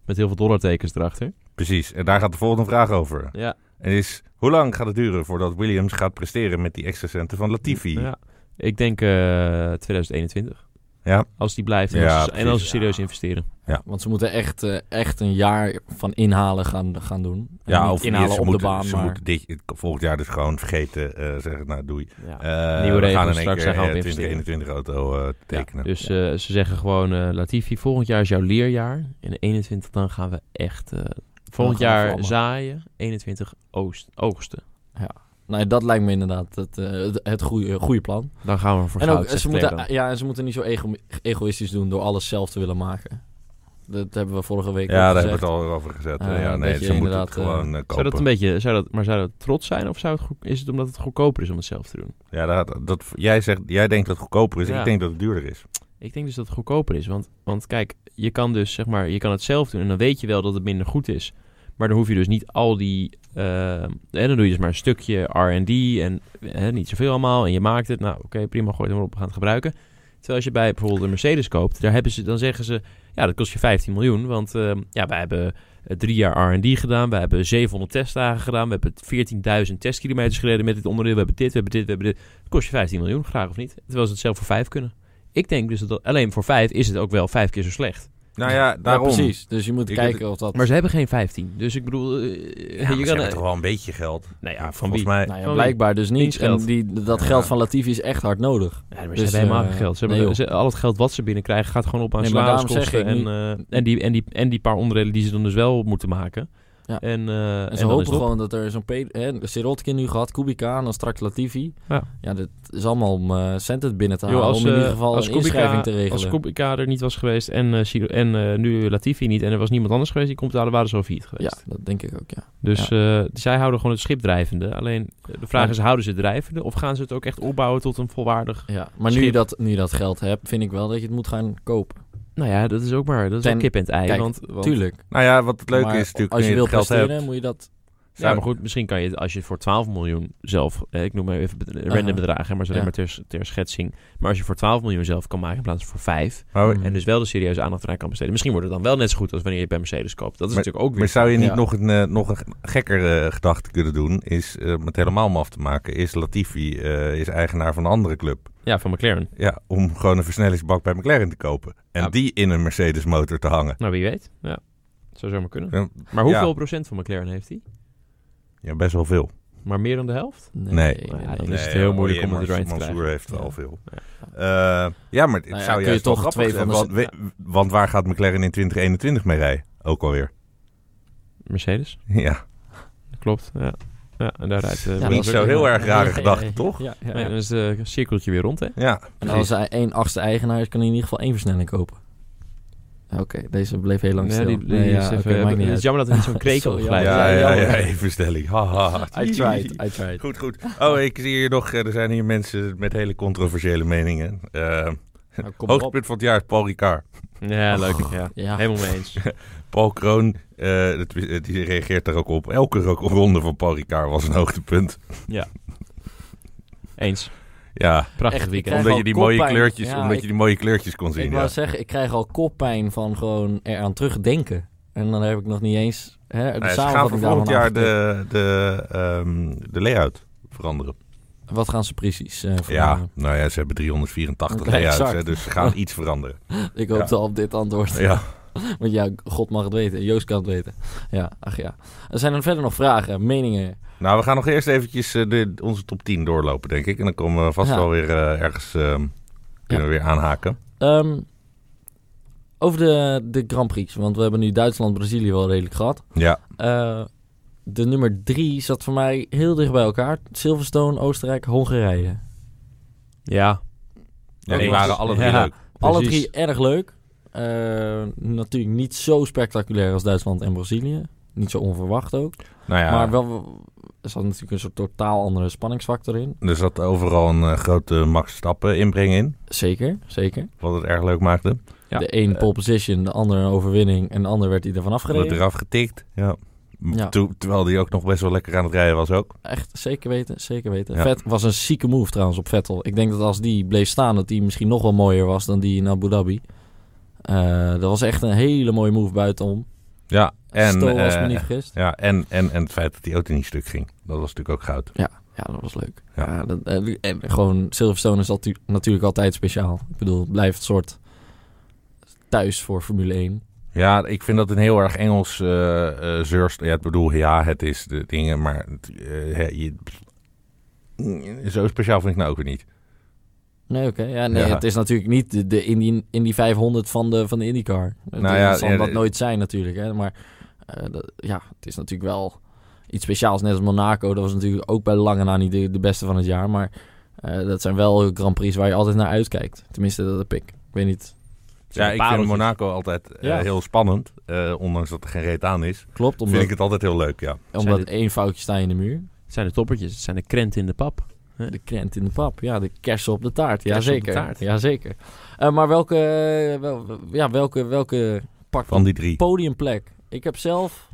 S1: Met heel veel dollartekens erachter.
S3: Precies, en daar gaat de volgende vraag over.
S1: Ja,
S3: En is, hoe lang gaat het duren voordat Williams gaat presteren met die extra centen van Latifi?
S1: Ja. Ik denk eh, 2021.
S3: Ja.
S1: Als die blijft en,
S3: Ja,
S1: als, ze- en
S3: precies.
S1: als ze serieus investeren.
S2: Want ze moeten echt, eh, echt een jaar van inhalen gaan, gaan doen. En niet inhalen
S3: ze
S2: op
S3: moeten-
S2: de baan,
S3: Ze
S2: maar...
S3: moeten dit, volgend jaar dus gewoon vergeten, eh, zeggen, nou doei.
S1: Ja.
S3: Eh,
S1: Nieuwe
S3: we
S1: regels,
S3: gaan in één
S1: straks
S3: keer
S1: gaan we
S3: eh,
S1: investeren.
S3: 2021 auto eh, tekenen.
S1: Dus eh, ze zeggen gewoon, eh, Latifi, volgend jaar is jouw leerjaar. En 21 dan gaan we echt... eh, volgend
S2: gaan we
S1: jaar
S2: vlammen.
S1: zaaien, 21 oost, oogsten.
S2: Nee, dat lijkt me inderdaad het, eh, het, het goede, goede plan.
S1: Dan gaan we voor
S2: En
S1: goud,
S2: ook,
S1: zegt
S2: ze moeten,
S1: Cleveland.
S2: ja, en ze moeten niet zo ego- egoïstisch doen door alles zelf te willen maken. Dat hebben we vorige week
S3: ja,
S2: al
S3: daar
S2: gezegd.
S3: hebben we het al over gezet.
S2: Eh,
S3: Eh, ja,
S2: dat
S3: nee,
S2: je
S3: ze moeten het
S2: inderdaad, eh,
S3: gewoon eh, kopen.
S1: Zou dat een beetje, zou dat, maar zou dat trots zijn of zou het goed, is het omdat het goedkoper is om het zelf te doen?
S3: ja, dat, dat, jij, zegt, jij denkt dat het goedkoper is,
S1: Ja.
S3: ik denk dat het duurder is.
S1: Ik denk dus dat het goedkoper is. Want, want kijk, je kan dus zeg maar, je kan het zelf doen en dan weet je wel dat het minder goed is. Maar dan hoef je dus niet al die. eh, en dan doe je dus maar een stukje RD en hè, niet zoveel allemaal. En je maakt het. Nou, oké, prima, gooi het maar op, we gaan het gebruiken. Terwijl als je bij bijvoorbeeld een Mercedes koopt, daar hebben ze, dan zeggen ze: Ja, dat kost je 15 miljoen. Want eh, ja, wij hebben eh, drie jaar RD gedaan. We hebben 700 testdagen gedaan. We hebben 14.000 testkilometers gereden met dit onderdeel. We hebben dit, we hebben dit, we hebben dit. Dat kost je 15 miljoen, graag of niet. Terwijl ze het zelf voor 5 kunnen. Ik denk dus dat dat alleen voor 5 is het ook wel 5 keer zo slecht.
S3: Nou ja, daarom.
S2: Ja, precies. Dus je moet
S3: Ik-
S2: kijken of dat...
S1: Maar ze hebben geen 15. Dus ik bedoel, eh,
S3: Ja, maar
S1: je kan.
S3: ze hebben toch wel een beetje geld.
S1: nou ja, van
S3: Volgens
S1: wie?
S3: mij.
S2: nou ja,
S1: van
S2: blijkbaar dus niet. En
S1: Dienstgeld.
S2: die, dat
S3: Ja.
S2: geld van Latifi is echt hard nodig.
S1: Ja, maar ze
S2: Dus,
S1: hebben helemaal
S2: eh,
S1: geen geld. Ze
S2: nee,
S1: hebben,
S2: joh.
S1: ze- al het geld wat ze binnenkrijgen gaat gewoon op aan
S2: Nee, maar daarom
S1: salariskosten. En,
S2: zeg ik
S1: eh, en, die, en, die, en die paar onderdelen die ze dan dus wel moeten maken.
S2: Ja.
S1: En, eh,
S2: En
S1: en
S2: ze
S1: dan
S2: hopen
S1: is het op.
S2: gewoon dat er zo'n... pe- hè, Sirotkin nu gehad, Kubica en dan straks Latifi.
S1: Ja.
S2: dit is allemaal om eh centen binnen te
S1: Joh,
S2: halen. om in
S1: eh,
S2: ieder geval een
S1: Kubica-
S2: inschrijving te regelen.
S1: Als Kubica er niet was geweest en, eh, Ciro- en eh, nu Latifi niet... en er was niemand anders geweest die kon betalen, waren ze al failliet
S2: ja,
S1: geweest.
S2: dat denk ik ook, ja.
S1: Dus eh, zij houden gewoon het schip drijvende. Alleen eh, de vraag
S2: Maar-
S1: is, houden ze het drijvende... of gaan ze het ook echt opbouwen tot een volwaardig...
S2: ja. Maar nu
S1: Schip.
S2: je, dat, nu je dat geld hebt, vind ik wel dat je het moet gaan kopen.
S1: Nou ja, dat is ook maar... dat is
S2: Ten-
S1: wel kip en het ei.
S2: Kijk,
S1: want, want-
S2: Tuurlijk.
S3: Nou ja, wat het leuke
S2: Maar
S3: is natuurlijk,
S2: als je
S3: wil
S2: wilt
S3: geld
S2: presteren,
S3: hebt,
S2: moet je dat...
S1: Ja, maar goed, misschien kan je het als je het voor 12 miljoen zelf... eh, ik noem maar even bed- random
S2: Aha.
S1: bedragen, maar zo
S2: Ja.
S1: maar ter, ter schetsing. Maar als je voor 12 miljoen zelf kan maken in plaats van voor 5...
S3: Maar,
S2: Mm.
S1: en dus wel de serieuze aandacht eraan kan besteden... misschien wordt het dan wel net zo goed als wanneer je het bij Mercedes koopt. Dat is natuurlijk ook weer...
S3: maar zou je niet
S2: Ja.
S3: nog een, eh, nog een ge- gekkere gedachte kunnen doen? Is eh, om het helemaal maf te maken. Is Latifi eh, is eigenaar van een andere club.
S1: Ja, van McLaren.
S3: Ja, om gewoon een versnellingsbak bij McLaren te kopen. En
S1: Ja.
S3: die in een Mercedes motor te hangen.
S1: Nou, wie weet. Ja, zou zomaar kunnen.
S3: Ja.
S1: Maar hoeveel procent van McLaren heeft hij?
S3: Ja, best wel veel.
S1: Maar meer dan de helft?
S3: Nee.
S1: Nou ja,
S2: nee.
S1: dan is het heel
S3: ja,
S1: moeilijk
S3: Roy
S1: om het
S3: Emmers,
S1: erin te krijgen.
S3: Mansour heeft wel
S2: Ja.
S3: veel. Eh, ja, maar het
S2: Nou ja,
S3: zou
S2: kun je
S3: juist wel
S2: toch
S3: grappig
S2: twee van
S3: zijn,
S2: de-
S3: Want, we- want waar gaat McLaren in 2021 mee rijden? Ook alweer.
S1: Mercedes,
S3: Ja,
S1: dat klopt. Ja, ja en daar rijdt... eh,
S2: Ja,
S1: Williams
S3: niet
S2: dat is
S3: zo
S1: ook
S2: ook
S3: heel
S1: nog.
S2: wel-
S3: erg rare
S2: Ja, ja,
S3: gedachte,
S2: ja, ja.
S3: toch?
S2: Ja, ja,
S1: Ja,
S2: ja.
S1: dan is het cirkeltje weer rond, hè?
S3: ja.
S2: En als hij één achtste eigenaar is, kan hij in ieder geval één versnelling kopen. Oké, deze bleef heel lang
S1: Nee,
S2: stil.
S1: die, die
S2: Nee,
S1: is
S2: ja,
S1: even,
S2: oké, maakt niet
S1: het is
S2: uit.
S1: jammer dat er niet zo'n krekel
S2: (laughs) Sorry,
S1: geluid
S3: Ja,
S1: is.
S3: ja,
S2: ja,
S3: ja,
S2: ja.
S3: even stelling. Ha, ha, ha.
S2: I tried, I
S3: (laughs)
S2: tried.
S3: Goed, goed. Oh, ik zie hier nog, eh, er zijn hier mensen met hele controversiële meningen. Eh
S2: Nou, kom maar op.
S3: hoogtepunt van het jaar is Paul Ricard.
S1: Ja, leuk. Ja.
S2: Ja.
S1: Helemaal mee
S2: (laughs)
S1: eens.
S3: Paul Kroon, eh, dat- eh, die reageert daar ook op. Elke ro- ronde van Paul Ricard was een hoogtepunt.
S1: Eens.
S3: Ja,
S1: Prachtig
S2: Echt, ik
S1: weekend.
S2: krijg
S3: omdat je
S2: al
S3: die mooie
S2: koppijn.
S3: kleurtjes,
S2: Ja,
S3: omdat
S2: ik-
S3: je die mooie kleurtjes kon zien.
S2: Ik
S3: ja.
S2: wou zeggen, ik krijg al koppijn van gewoon eraan terugdenken. En dan heb ik nog niet eens... Hè, de
S3: Nou ja, ze gaan voor
S2: samenvatting
S3: volgend
S2: daarvan
S3: jaar
S2: afgetikt.
S3: de, de, ehm, de layout veranderen.
S2: Wat gaan ze precies eh,
S3: Ja,
S2: veranderen?
S3: nou ja, ze hebben 384
S2: Oké,
S3: layouts,
S2: exact.
S3: hè, dus ze
S2: (laughs)
S3: gaan iets veranderen.
S2: Ik hoopte al op dit antwoord.
S3: Ja.
S2: (laughs) Want ja, God mag het weten. Joost kan het weten. Ja, ach ja. Er zijn er verder nog vragen, meningen.
S3: Nou, we gaan nog eerst eventjes eh, de, onze top 10 doorlopen, denk ik. En dan komen we vast
S2: Ja.
S3: wel weer eh, ergens... ehm, kunnen we weer aanhaken.
S2: Ehm, over de, de Grand Prix. Want we hebben nu Duitsland, Brazilië wel redelijk gehad.
S3: Ja,
S2: Eh, de nummer drie zat voor mij heel dicht bij elkaar. Silverstone, Oostenrijk, Hongarije.
S1: Ja.
S3: ja dus-
S1: Eens.
S3: die waren alle drie
S1: Ja.
S3: leuk.
S2: Alle
S1: Precies.
S2: drie erg leuk. Eh, natuurlijk niet zo spectaculair als Duitsland en Brazilië. Niet zo onverwacht ook.
S3: Nou ja,
S2: Maar wel, er zat natuurlijk een soort totaal andere spanningsfactor in.
S3: er zat overal een eh, grote Max Stappen inbreng in.
S2: Zeker, zeker.
S3: Wat het erg leuk maakte.
S1: Ja.
S2: De een
S3: Eh,
S2: pole position, de ander een overwinning. En de ander werd hij ervan
S3: Wordt
S2: afgereden.
S3: eraf getikt. Ja.
S2: Ja.
S3: Toe- terwijl die ook nog best wel lekker aan het rijden was ook.
S2: Echt, zeker weten, zeker weten.
S3: Ja.
S2: Vet was een zieke move trouwens op Vettel. Ik denk dat als die bleef staan, dat die misschien nog wel mooier was dan die in Abu Dhabi. Eh, dat was echt een hele mooie move buitenom.
S3: Ja, en,
S2: Stil, als ik
S3: eh,
S2: me niet vergis.
S3: ja, en, en, en het feit dat die auto niet stuk ging. Dat was natuurlijk ook goud.
S2: Ja, dat was leuk.
S3: Ja.
S2: Ja. dat, en, en gewoon Silverstone is altu- natuurlijk altijd speciaal. Ik bedoel, het blijft een soort thuis voor Formule 1.
S3: Ja, ik vind dat een heel erg Engels eh eh, zeurst. Ja, ik bedoel, ja, het is de dingen, maar het, eh, hè, je, zo speciaal vind ik nou ook weer niet.
S2: Nee, oké. Ja, nee,
S3: Ja.
S2: Het is natuurlijk niet de, de Indy, Indy 500 van de, van de IndyCar. Nou
S3: Nou ja,
S2: dat zal
S3: ja,
S2: dat
S3: de-
S2: nooit zijn natuurlijk. Hè. Maar eh, dat- ja, het is natuurlijk wel iets speciaals. Net als Monaco. Dat was natuurlijk ook bij lange na niet de, de beste van het jaar. Maar eh, dat zijn wel Grand Prix waar je altijd naar uitkijkt. Tenminste, dat heb ik. Ik weet niet.
S3: Ja, ik vind
S1: pareltjes.
S3: Monaco altijd eh,
S2: Ja.
S3: heel spannend. eh, ondanks dat er geen reet aan is.
S2: Klopt,
S3: Vind
S2: omdat,
S3: ik het altijd heel leuk, ja.
S2: omdat één foutje sta je in de muur.
S1: Het zijn de toppertjes. Het zijn de krenten in de pap.
S2: De krent in de pap, ja, de kersen op de taart. Ja,
S1: Kersen op de
S2: zeker.
S1: taart.
S2: Ja, zeker. Eh, maar welke, eh, wel, ja, welke, welke pak
S3: Van die drie.
S2: podiumplek? Ik heb zelf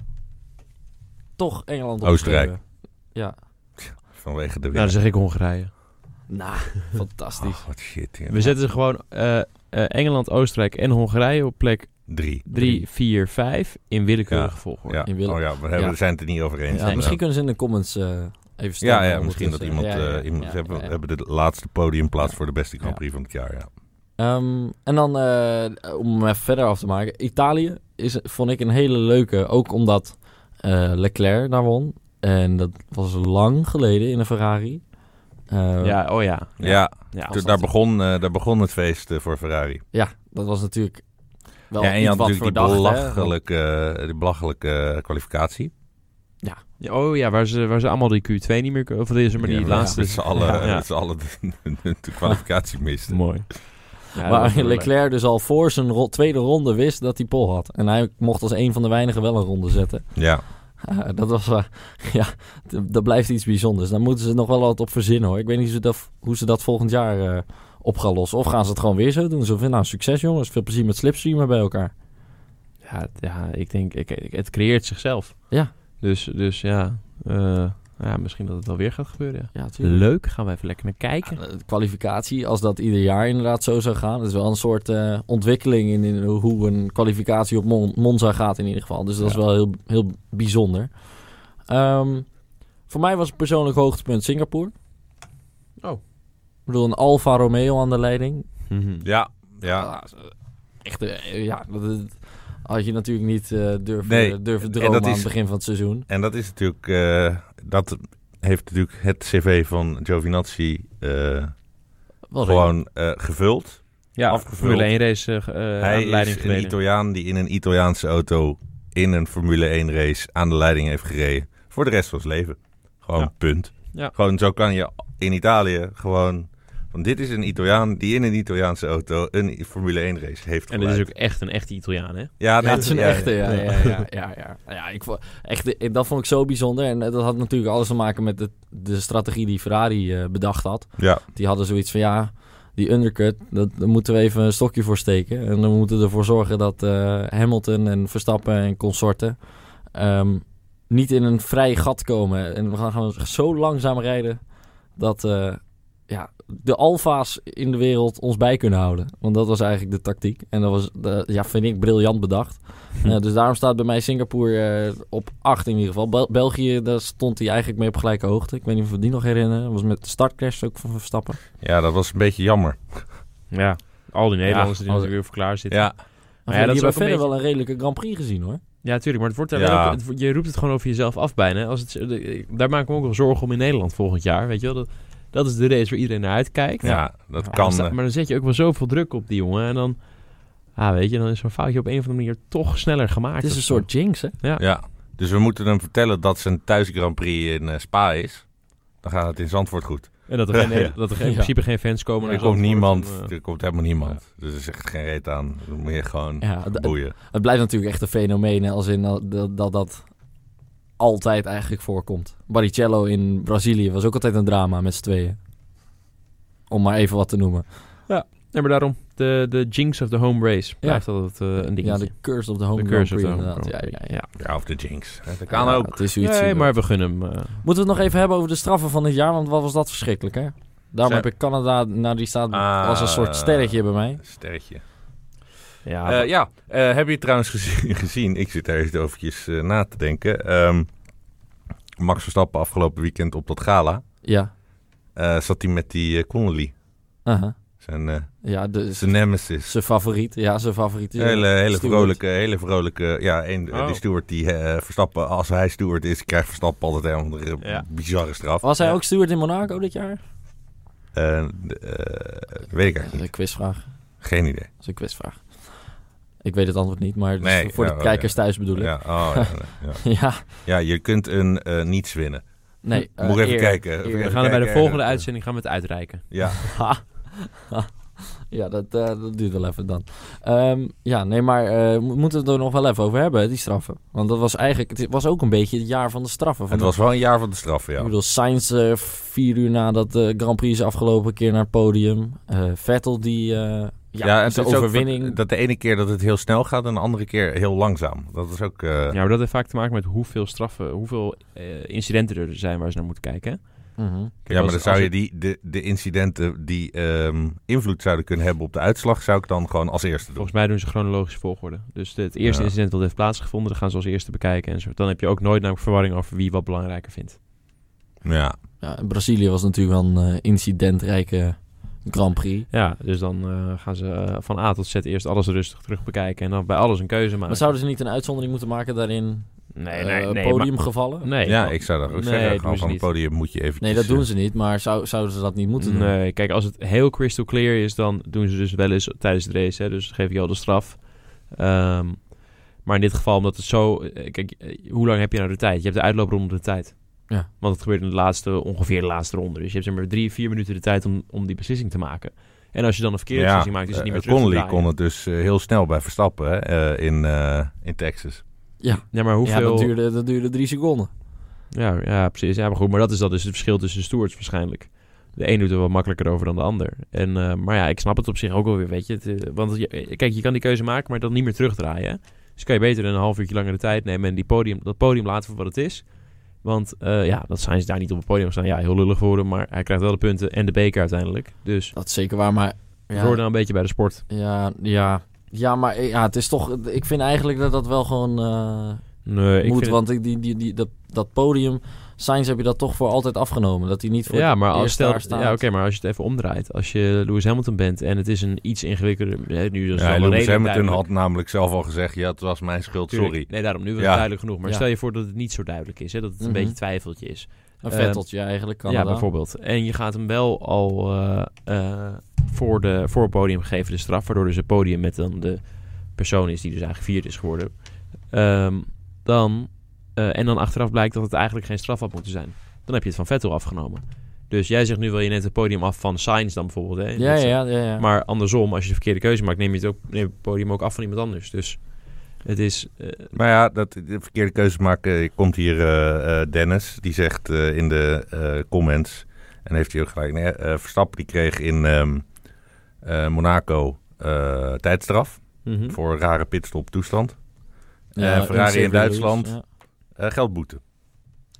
S2: toch Engeland opgeschreven.
S3: Oostenrijk.
S2: Ja.
S3: Vanwege de
S1: Nou, dan
S3: winnaar.
S1: zeg ik Hongarije.
S3: (laughs)
S2: Nou, fantastisch.
S3: Oh, wat shit. ja.
S1: We zetten ze gewoon eh, eh, Engeland, Oostenrijk en Hongarije op plek
S3: Drie.
S1: 3, 4, 5 in willekeurige
S3: Ja.
S1: volgorde.
S3: Ja.
S2: Je wil-
S3: Oh ja, we hebben,
S2: Ja.
S3: we zijn het er niet over eens.
S2: Ja,
S3: Ja,
S2: misschien kunnen ze in de comments eh, even stemmen.
S3: ja, ja,
S2: Om
S3: misschien
S2: het
S3: dat
S2: te
S3: iemand...
S2: zeggen. Ja, ja,
S3: eh, iemand
S2: ja,
S3: ze hebben,
S2: ja, ja.
S3: hebben de laatste podiumplaats voor de beste Grand
S2: Ja.
S3: Prix van het jaar, ja.
S2: Ehm, en dan, eh, om hem even verder af te maken. Italië is, vond ik een hele leuke. Ook omdat eh, Leclerc daar won. En dat was lang geleden in een Ferrari. Eh,
S1: Ja, oh ja.
S3: Ja,
S1: Ja,
S3: toen- daar, begon, eh, daar begon het feest eh, voor Ferrari.
S2: ja, dat was natuurlijk wel
S3: ja, en je
S2: iets
S3: had
S2: wat
S3: natuurlijk die eh,
S2: verdacht, hè.
S3: belachelijke, die belachelijke kwalificatie.
S1: Ja, oh ja, waar ze, waar ze allemaal die Q2 niet meer... kunnen- Of deze, maar die laatste...
S3: Met z'n allen, (laughs)
S1: Ja.
S3: met z'n allen de, de- de kwalificatie misten.
S1: Mooi. Ja, dat was
S2: Waar
S1: wel leuk.
S2: Leclerc dus al voor zijn ro- tweede ronde wist dat hij pol had. En hij mocht als een van de weinigen wel een ronde zetten. (laughs)
S3: Ja.
S2: Ah, dat was, eh, (laughs) ja, d- dat blijft iets bijzonders. Daar moeten ze nog wel wat op verzinnen hoor. Ik weet niet hoe ze dat, hoe ze dat volgend jaar eh, op gaan lossen. Of gaan ze het gewoon weer zo doen. Zo van, nou succes jongens, veel plezier met slipstreamen bij elkaar.
S1: Ja, ja ik denk, ik, ik- het creëert zichzelf.
S2: Ja.
S1: Dus, dus ja, eh, ja, misschien dat het wel weer gaat gebeuren. ja.
S2: Ja,
S1: Leuk, gaan we even lekker naar kijken.
S2: Ja, de kwalificatie, als dat ieder jaar inderdaad zo zou gaan. Dat is wel een soort eh, ontwikkeling in, in hoe een kwalificatie op Mon- Monza gaat in ieder geval. Dus dat is
S1: Ja.
S2: wel heel, heel bijzonder. Ehm, voor mij was het persoonlijk hoogtepunt Singapore.
S1: Oh.
S2: Ik bedoel, een Alfa Romeo aan de leiding.
S1: Mhm.
S3: Ah, Ja. Ja.
S2: Ah, Echt, eh, ja, dat, dat had je natuurlijk niet eh, durven,
S3: Nee,
S2: durven
S3: en
S2: dromen
S3: dat
S2: aan
S3: is-
S2: het begin van het seizoen.
S3: En dat is natuurlijk... eh, dat heeft natuurlijk het cv van Giovinazzi eh
S2: Wel
S3: gewoon eh, gevuld.
S1: Ja,
S3: Afgevuld.
S1: Formule 1 race eh, eh, aan
S3: Hij
S1: de leiding
S3: is een
S1: gereden.
S3: Italiaan die in een Italiaanse auto in een Formule 1 race aan de leiding heeft gereden. Voor de rest van zijn leven. Gewoon
S1: Ja.
S3: punt.
S1: Ja.
S3: Gewoon zo kan je in Italië gewoon... Van dit is een Italiaan die in een Italiaanse auto een Formule 1 race heeft
S1: En dit
S3: geleid.
S1: is ook echt een echte Italiaan, hè?
S3: Ja,
S2: Ja,
S3: nee,
S2: het is een
S3: ja,
S2: echte, ja.
S1: ja.
S2: Ja, ja, ja, ja, ja. Nou Ja, ik vond, echt, ik- dat vond ik zo bijzonder. En eh, dat had natuurlijk alles te maken met de, de strategie die Ferrari eh, bedacht had.
S3: Ja,
S2: Die hadden zoiets van, ja, die undercut, dat, daar moeten we even een stokje voor steken. En we moeten ervoor zorgen dat eh, Hamilton en Verstappen en consorten ehm, niet in een vrij gat komen. En we gaan, gaan we zo langzaam rijden dat eh, ja, de alfa's in de wereld ons bij kunnen houden. Want dat was eigenlijk de tactiek. En dat was, eh, ja, vind ik, briljant bedacht.
S1: Hm.
S2: Eh, dus daarom staat bij mij Singapore eh, op 8 in ieder geval. Bel- België, daar stond hij eigenlijk mee op gelijke hoogte. Ik weet niet of we die nog herinneren. Dat was met de startcrash ook van Verstappen.
S3: ja, dat was een beetje jammer.
S1: Ja. Al die Nederlanders die
S2: als-
S1: natuurlijk weer voor klaar zitten.
S3: Ja,
S2: Maar
S1: Maar ja,
S2: die
S1: dat is
S2: hebben
S1: ook
S2: verder
S1: een beetje-
S2: wel een redelijke Grand Prix gezien hoor.
S1: Ja, tuurlijk. Maar het wordt daar
S3: Ja.
S1: wel ook- het wordt- je roept het gewoon over jezelf af bijna. Als het, eh, daar maken we ook wel zorgen om in Nederland volgend jaar. Weet je wel? Dat, dat is de race waar iedereen naar uitkijkt.
S3: ja, dat
S2: Ja,
S3: kan.
S1: Als dat-
S3: eh,
S1: maar dan zet je ook wel zoveel druk op die jongen. En dan, ah, weet je, dan is zo'n foutje op een of andere manier toch sneller gemaakt.
S2: Het is
S1: of
S2: een
S1: zo.
S2: soort jinx hè.
S3: Ja, dus we moeten hem vertellen dat zijn thuis Grand Prix in eh, Spa is. Dan gaat het in Zandvoort goed.
S1: En dat er, geen,
S3: Ja.
S1: dat er geen-
S2: Ja.
S1: in principe geen fans komen.
S3: Maar
S1: naar
S3: er komt
S1: Zandvoort
S3: niemand,
S1: en, eh,
S3: er komt helemaal niemand. Dus er is echt geen reet aan. Dan moet je gewoon
S2: Ja, d-
S3: boeien.
S2: het blijft natuurlijk echt een fenomeen hè, als in dat dat, dat dat altijd eigenlijk voorkomt. Barrichello in Brazilië was ook altijd een drama met z'n tweeën. Om maar even wat te noemen.
S1: nee, maar daarom, de, de jinx of the home race blijft altijd eh, een
S2: Ja,
S1: dingetje.
S2: de curse of the home
S1: de
S2: Grand
S1: curse of
S2: Prix
S1: the home.
S2: inderdaad. Ja,
S1: Grand
S2: ja,
S1: Prix.
S2: ja.
S3: Ja, of de Jinx. hè, Dat kan
S2: Ja,
S3: ook.
S2: Het is zoiets.
S1: Nee,
S2: inderdaad.
S1: maar we gunnen hem. eh.
S2: Moeten we het nog even hebben over de straffen van dit jaar? Want wat was dat verschrikkelijk hè? Daarom
S3: Zijn-
S2: heb ik Canada, nou die staat
S3: Ah.
S2: als een soort sterretje bij mij.
S3: Sterretje.
S1: ja,
S3: Eh, ja, eh, heb je het trouwens gezien? (laughs) gezien? Ik zit daar even overtjes eh, na te denken. Ehm, Max Verstappen afgelopen weekend op dat gala.
S2: Ja.
S3: eh, zat hij met die eh, Connolly.
S2: Aha.
S3: Zijn, eh,
S2: Ja, dus
S3: zijn nemesis.
S2: Zijn favoriet, ja, zijn favoriet. is-
S3: Hele, hele
S2: Stewart.
S3: vrolijke, hele vrolijke. Ja, een,
S1: Oh.
S3: die steward die eh, Verstappen, als hij steward is, krijgt Verstappen altijd een of andere
S1: Ja.
S3: bizarre straf.
S2: Was hij
S3: Ja.
S2: ook steward in Monaco dit jaar?
S3: Eh, de- eh, weet ik
S2: Dat is
S3: eigenlijk
S2: een
S3: niet.
S2: quizvraag. Dat
S3: Geen idee.
S2: is een quizvraag. Ik weet het antwoord niet, maar dus
S3: Nee,
S2: voor
S3: nou,
S2: de
S3: oh,
S2: kijkers thuis bedoel ik. Ja, (laughs)
S3: Ja, oh, ja, ja, ja. Ja, je kunt een eh, niets winnen.
S2: nee. eh,
S3: Moet ik even
S2: eer.
S3: kijken. Even
S2: eer.
S1: we
S3: even
S1: gaan er bij de
S3: kijken. eh.
S1: volgende uitzending gaan we het uitreiken.
S3: Ja,
S2: Ha. Ha. (laughs) ja, dat, eh, dat duurt wel even dan. Ehm, ja, nee, maar eh, mo- moeten we het er nog wel even over hebben, die straffen. Want dat was eigenlijk, het was ook een beetje het jaar van de straffen. Van
S3: het was wel een jaar van de straf, ja.
S2: Ik bedoel, Sainz eh, vier uur nadat de Grand Prix is afgelopen, een keer naar het podium. Eh, Vettel die, eh,
S1: dus
S2: ja,
S3: en
S2: zijn
S3: het is ook
S2: overwinning.
S3: Dat de ene keer dat het heel snel gaat en de andere keer heel langzaam. Dat is ook... eh,
S1: Ja, maar dat heeft vaak te maken met hoeveel straffen, hoeveel eh, incidenten er zijn waar ze naar moeten kijken. hè?
S2: Mhm.
S3: Ja, maar
S1: als-
S3: dan zou
S1: als
S3: je die, de, de incidenten die ehm, invloed zouden kunnen hebben op de uitslag, zou ik dan gewoon als eerste doen.
S1: Volgens mij doen ze chronologische volgorde. Dus de- het eerste
S3: Ja.
S1: incident dat heeft plaatsgevonden, dat gaan ze als eerste bekijken. En zo. dan heb je ook nooit namelijk verwarring over wie wat belangrijker vindt.
S3: Ja,
S2: Ja, in Brazilië was natuurlijk wel een eh, incidentrijke Grand Prix.
S1: Ja, dus dan eh, gaan ze eh, van A tot Z eerst alles rustig terug bekijken. En dan bij alles een keuze
S2: Maar
S1: maken.
S2: zouden ze niet een uitzondering moeten maken daarin?
S1: Nee,
S2: Eh,
S1: nee, nee.
S2: podiumgevallen?
S1: maar- nee,
S3: ja
S1: maar-
S3: ik zou dat ook
S1: Nee,
S3: zeggen.
S1: dat doen
S3: Gewoon
S1: ze
S3: van het
S1: niet.
S3: podium moet je eh, even.
S2: Nee, dat doen ze niet. Maar zou, zouden ze dat niet moeten doen?
S1: Nee, kijk, als het heel crystal clear is, dan doen ze dus wel eens tijdens de race. Hè, dus geef je al de straf. Ehm, Maar in dit geval, omdat het zo... eh, Kijk, eh, hoe lang heb je nou de tijd? Je hebt de uitloopronde de tijd.
S2: Ja.
S1: Want het gebeurt in de laatste, ongeveer de laatste ronde. Dus je hebt zeg maar drie, vier minuten de tijd om, om die beslissing te maken. En als dus je dan een verkeerde beslissing maakt, is het niet
S3: eh,
S1: meer terug te
S3: Connolly
S1: draaien.
S3: kon het dus eh, heel snel bij Verstappen hè, eh, in, eh, in Texas.
S1: Ja, maar hoeveel...
S2: Ja, dat duurde, dat duurde drie seconden.
S1: Ja, ja precies. Ja, maar goed, maar dat is dat dus het verschil tussen de stewards waarschijnlijk. De een doet er wat makkelijker over dan de ander. En, eh, maar ja, ik snap het op zich ook wel weer, weet je. Het, eh, want je- kijk, je kan die keuze maken, maar dan niet meer terugdraaien. hè. Dus kan je beter een half uurtje langer de tijd nemen en die podium, dat podium laten voor wat het is. Want eh, ja, dat zijn ze daar niet op het podium staan. Ja, heel lullig voor hem, maar hij krijgt wel de punten en de beker uiteindelijk. Dus
S2: Dat is zeker waar, maar...
S1: we
S2: Ja.
S1: horen nou een beetje bij de sport.
S2: Ja, ja. Ja, maar eh, ja, het is toch... Ik vind eigenlijk dat dat wel gewoon eh,
S1: Nee, ik
S2: moet.
S1: vind
S2: want ik- die, die, die, dat, dat podium... Sainz heb je dat toch voor altijd afgenomen. Dat hij niet voor
S1: ja,
S2: het
S1: maar als
S2: eerst
S1: stel,
S2: daar staat.
S1: ja, oké, maar als je het even omdraait, als je Lewis Hamilton bent en het is een iets ingewikkelder, hè, nu is het
S3: Ja,
S1: Dus wel
S3: Lewis
S1: redelijk
S3: Hamilton
S1: duidelijk.
S3: had namelijk zelf al gezegd, ja, het was mijn schuld,
S1: Tuurlijk.
S3: sorry.
S1: Nee, daarom nu was
S3: Ja.
S1: het duidelijk genoeg. Maar
S2: Ja.
S1: stel je voor dat het niet zo duidelijk is, hè, dat het een
S2: Mhm.
S1: beetje twijfeltje is.
S2: Een
S1: eh,
S2: vetteltje eigenlijk. Canada.
S1: Ja, bijvoorbeeld. En je gaat hem wel al eh, eh, voor, de, voor het podium geven de straf, waardoor dus het podium met dan de persoon is die dus eigenlijk vierd is geworden. Ehm, dan, eh, en dan achteraf blijkt dat het eigenlijk geen straf had moeten zijn. Dan heb je het van Vettel afgenomen. Dus jij zegt nu wil je net het podium af van Sainz dan bijvoorbeeld. Hè?
S2: Ja,
S1: Dat-
S2: ja, ja. ja.
S1: maar andersom, als je de verkeerde keuze maakt, neem je het, ook, neem je het podium ook af van iemand anders. Dus het is... eh,
S3: Maar ja, dat, de verkeerde keuzes maken. eh, Komt hier eh, eh, Dennis, die zegt eh, in de eh, comments. En heeft hij ook gelijk. Nee, eh, Verstappen die kreeg in ehm, eh, Monaco eh, tijdstraf.
S1: mhm.
S3: Voor rare pitstop toestand.
S2: Ja,
S3: eh,
S2: in
S3: Ferrari in
S2: Sint-Louis,
S3: Duitsland.
S2: Ja,
S3: Eh, geldboete.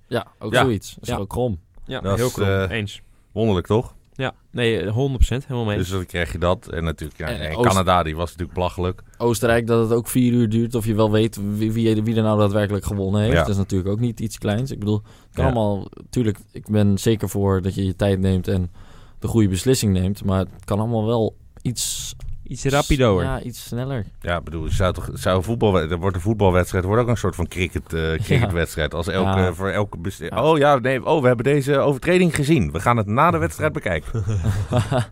S2: Ja, ook
S3: Ja.
S2: zoiets. Dat is
S1: Ja.
S2: gewoon krom.
S1: Ja,
S3: Dat
S1: heel
S3: is,
S1: cool.
S3: eh,
S1: Eens.
S3: Wonderlijk toch?
S1: Ja, nee, eh, 100% helemaal mee.
S3: Dus
S1: eens. Eh,
S3: dan krijg je dat. En natuurlijk, ja,
S2: En
S3: en
S2: Oost-
S3: Canada die was natuurlijk belachelijk.
S2: Oostenrijk dat het ook vier uur duurt. Of je wel weet wie, wie, wie er nou daadwerkelijk gewonnen heeft.
S3: Ja.
S2: Dat is natuurlijk ook niet iets kleins. Ik bedoel, het kan
S3: Ja.
S2: allemaal... Tuurlijk, ik ben zeker voor dat je je tijd neemt en de goede beslissing neemt. Maar het kan allemaal wel iets...
S1: Iets rapidoer.
S2: Ja, iets sneller.
S3: Ja, ik bedoel, je zou toch, zou een voetbal, er wordt een voetbalwedstrijd wordt ook een soort van cricket, eh, cricketwedstrijd. Als elke,
S2: Ja.
S3: voor elke bes-
S2: Ja.
S3: Oh ja, nee, oh, we hebben deze overtreding gezien. We gaan het na de wedstrijd
S1: (laughs)
S3: bekijken.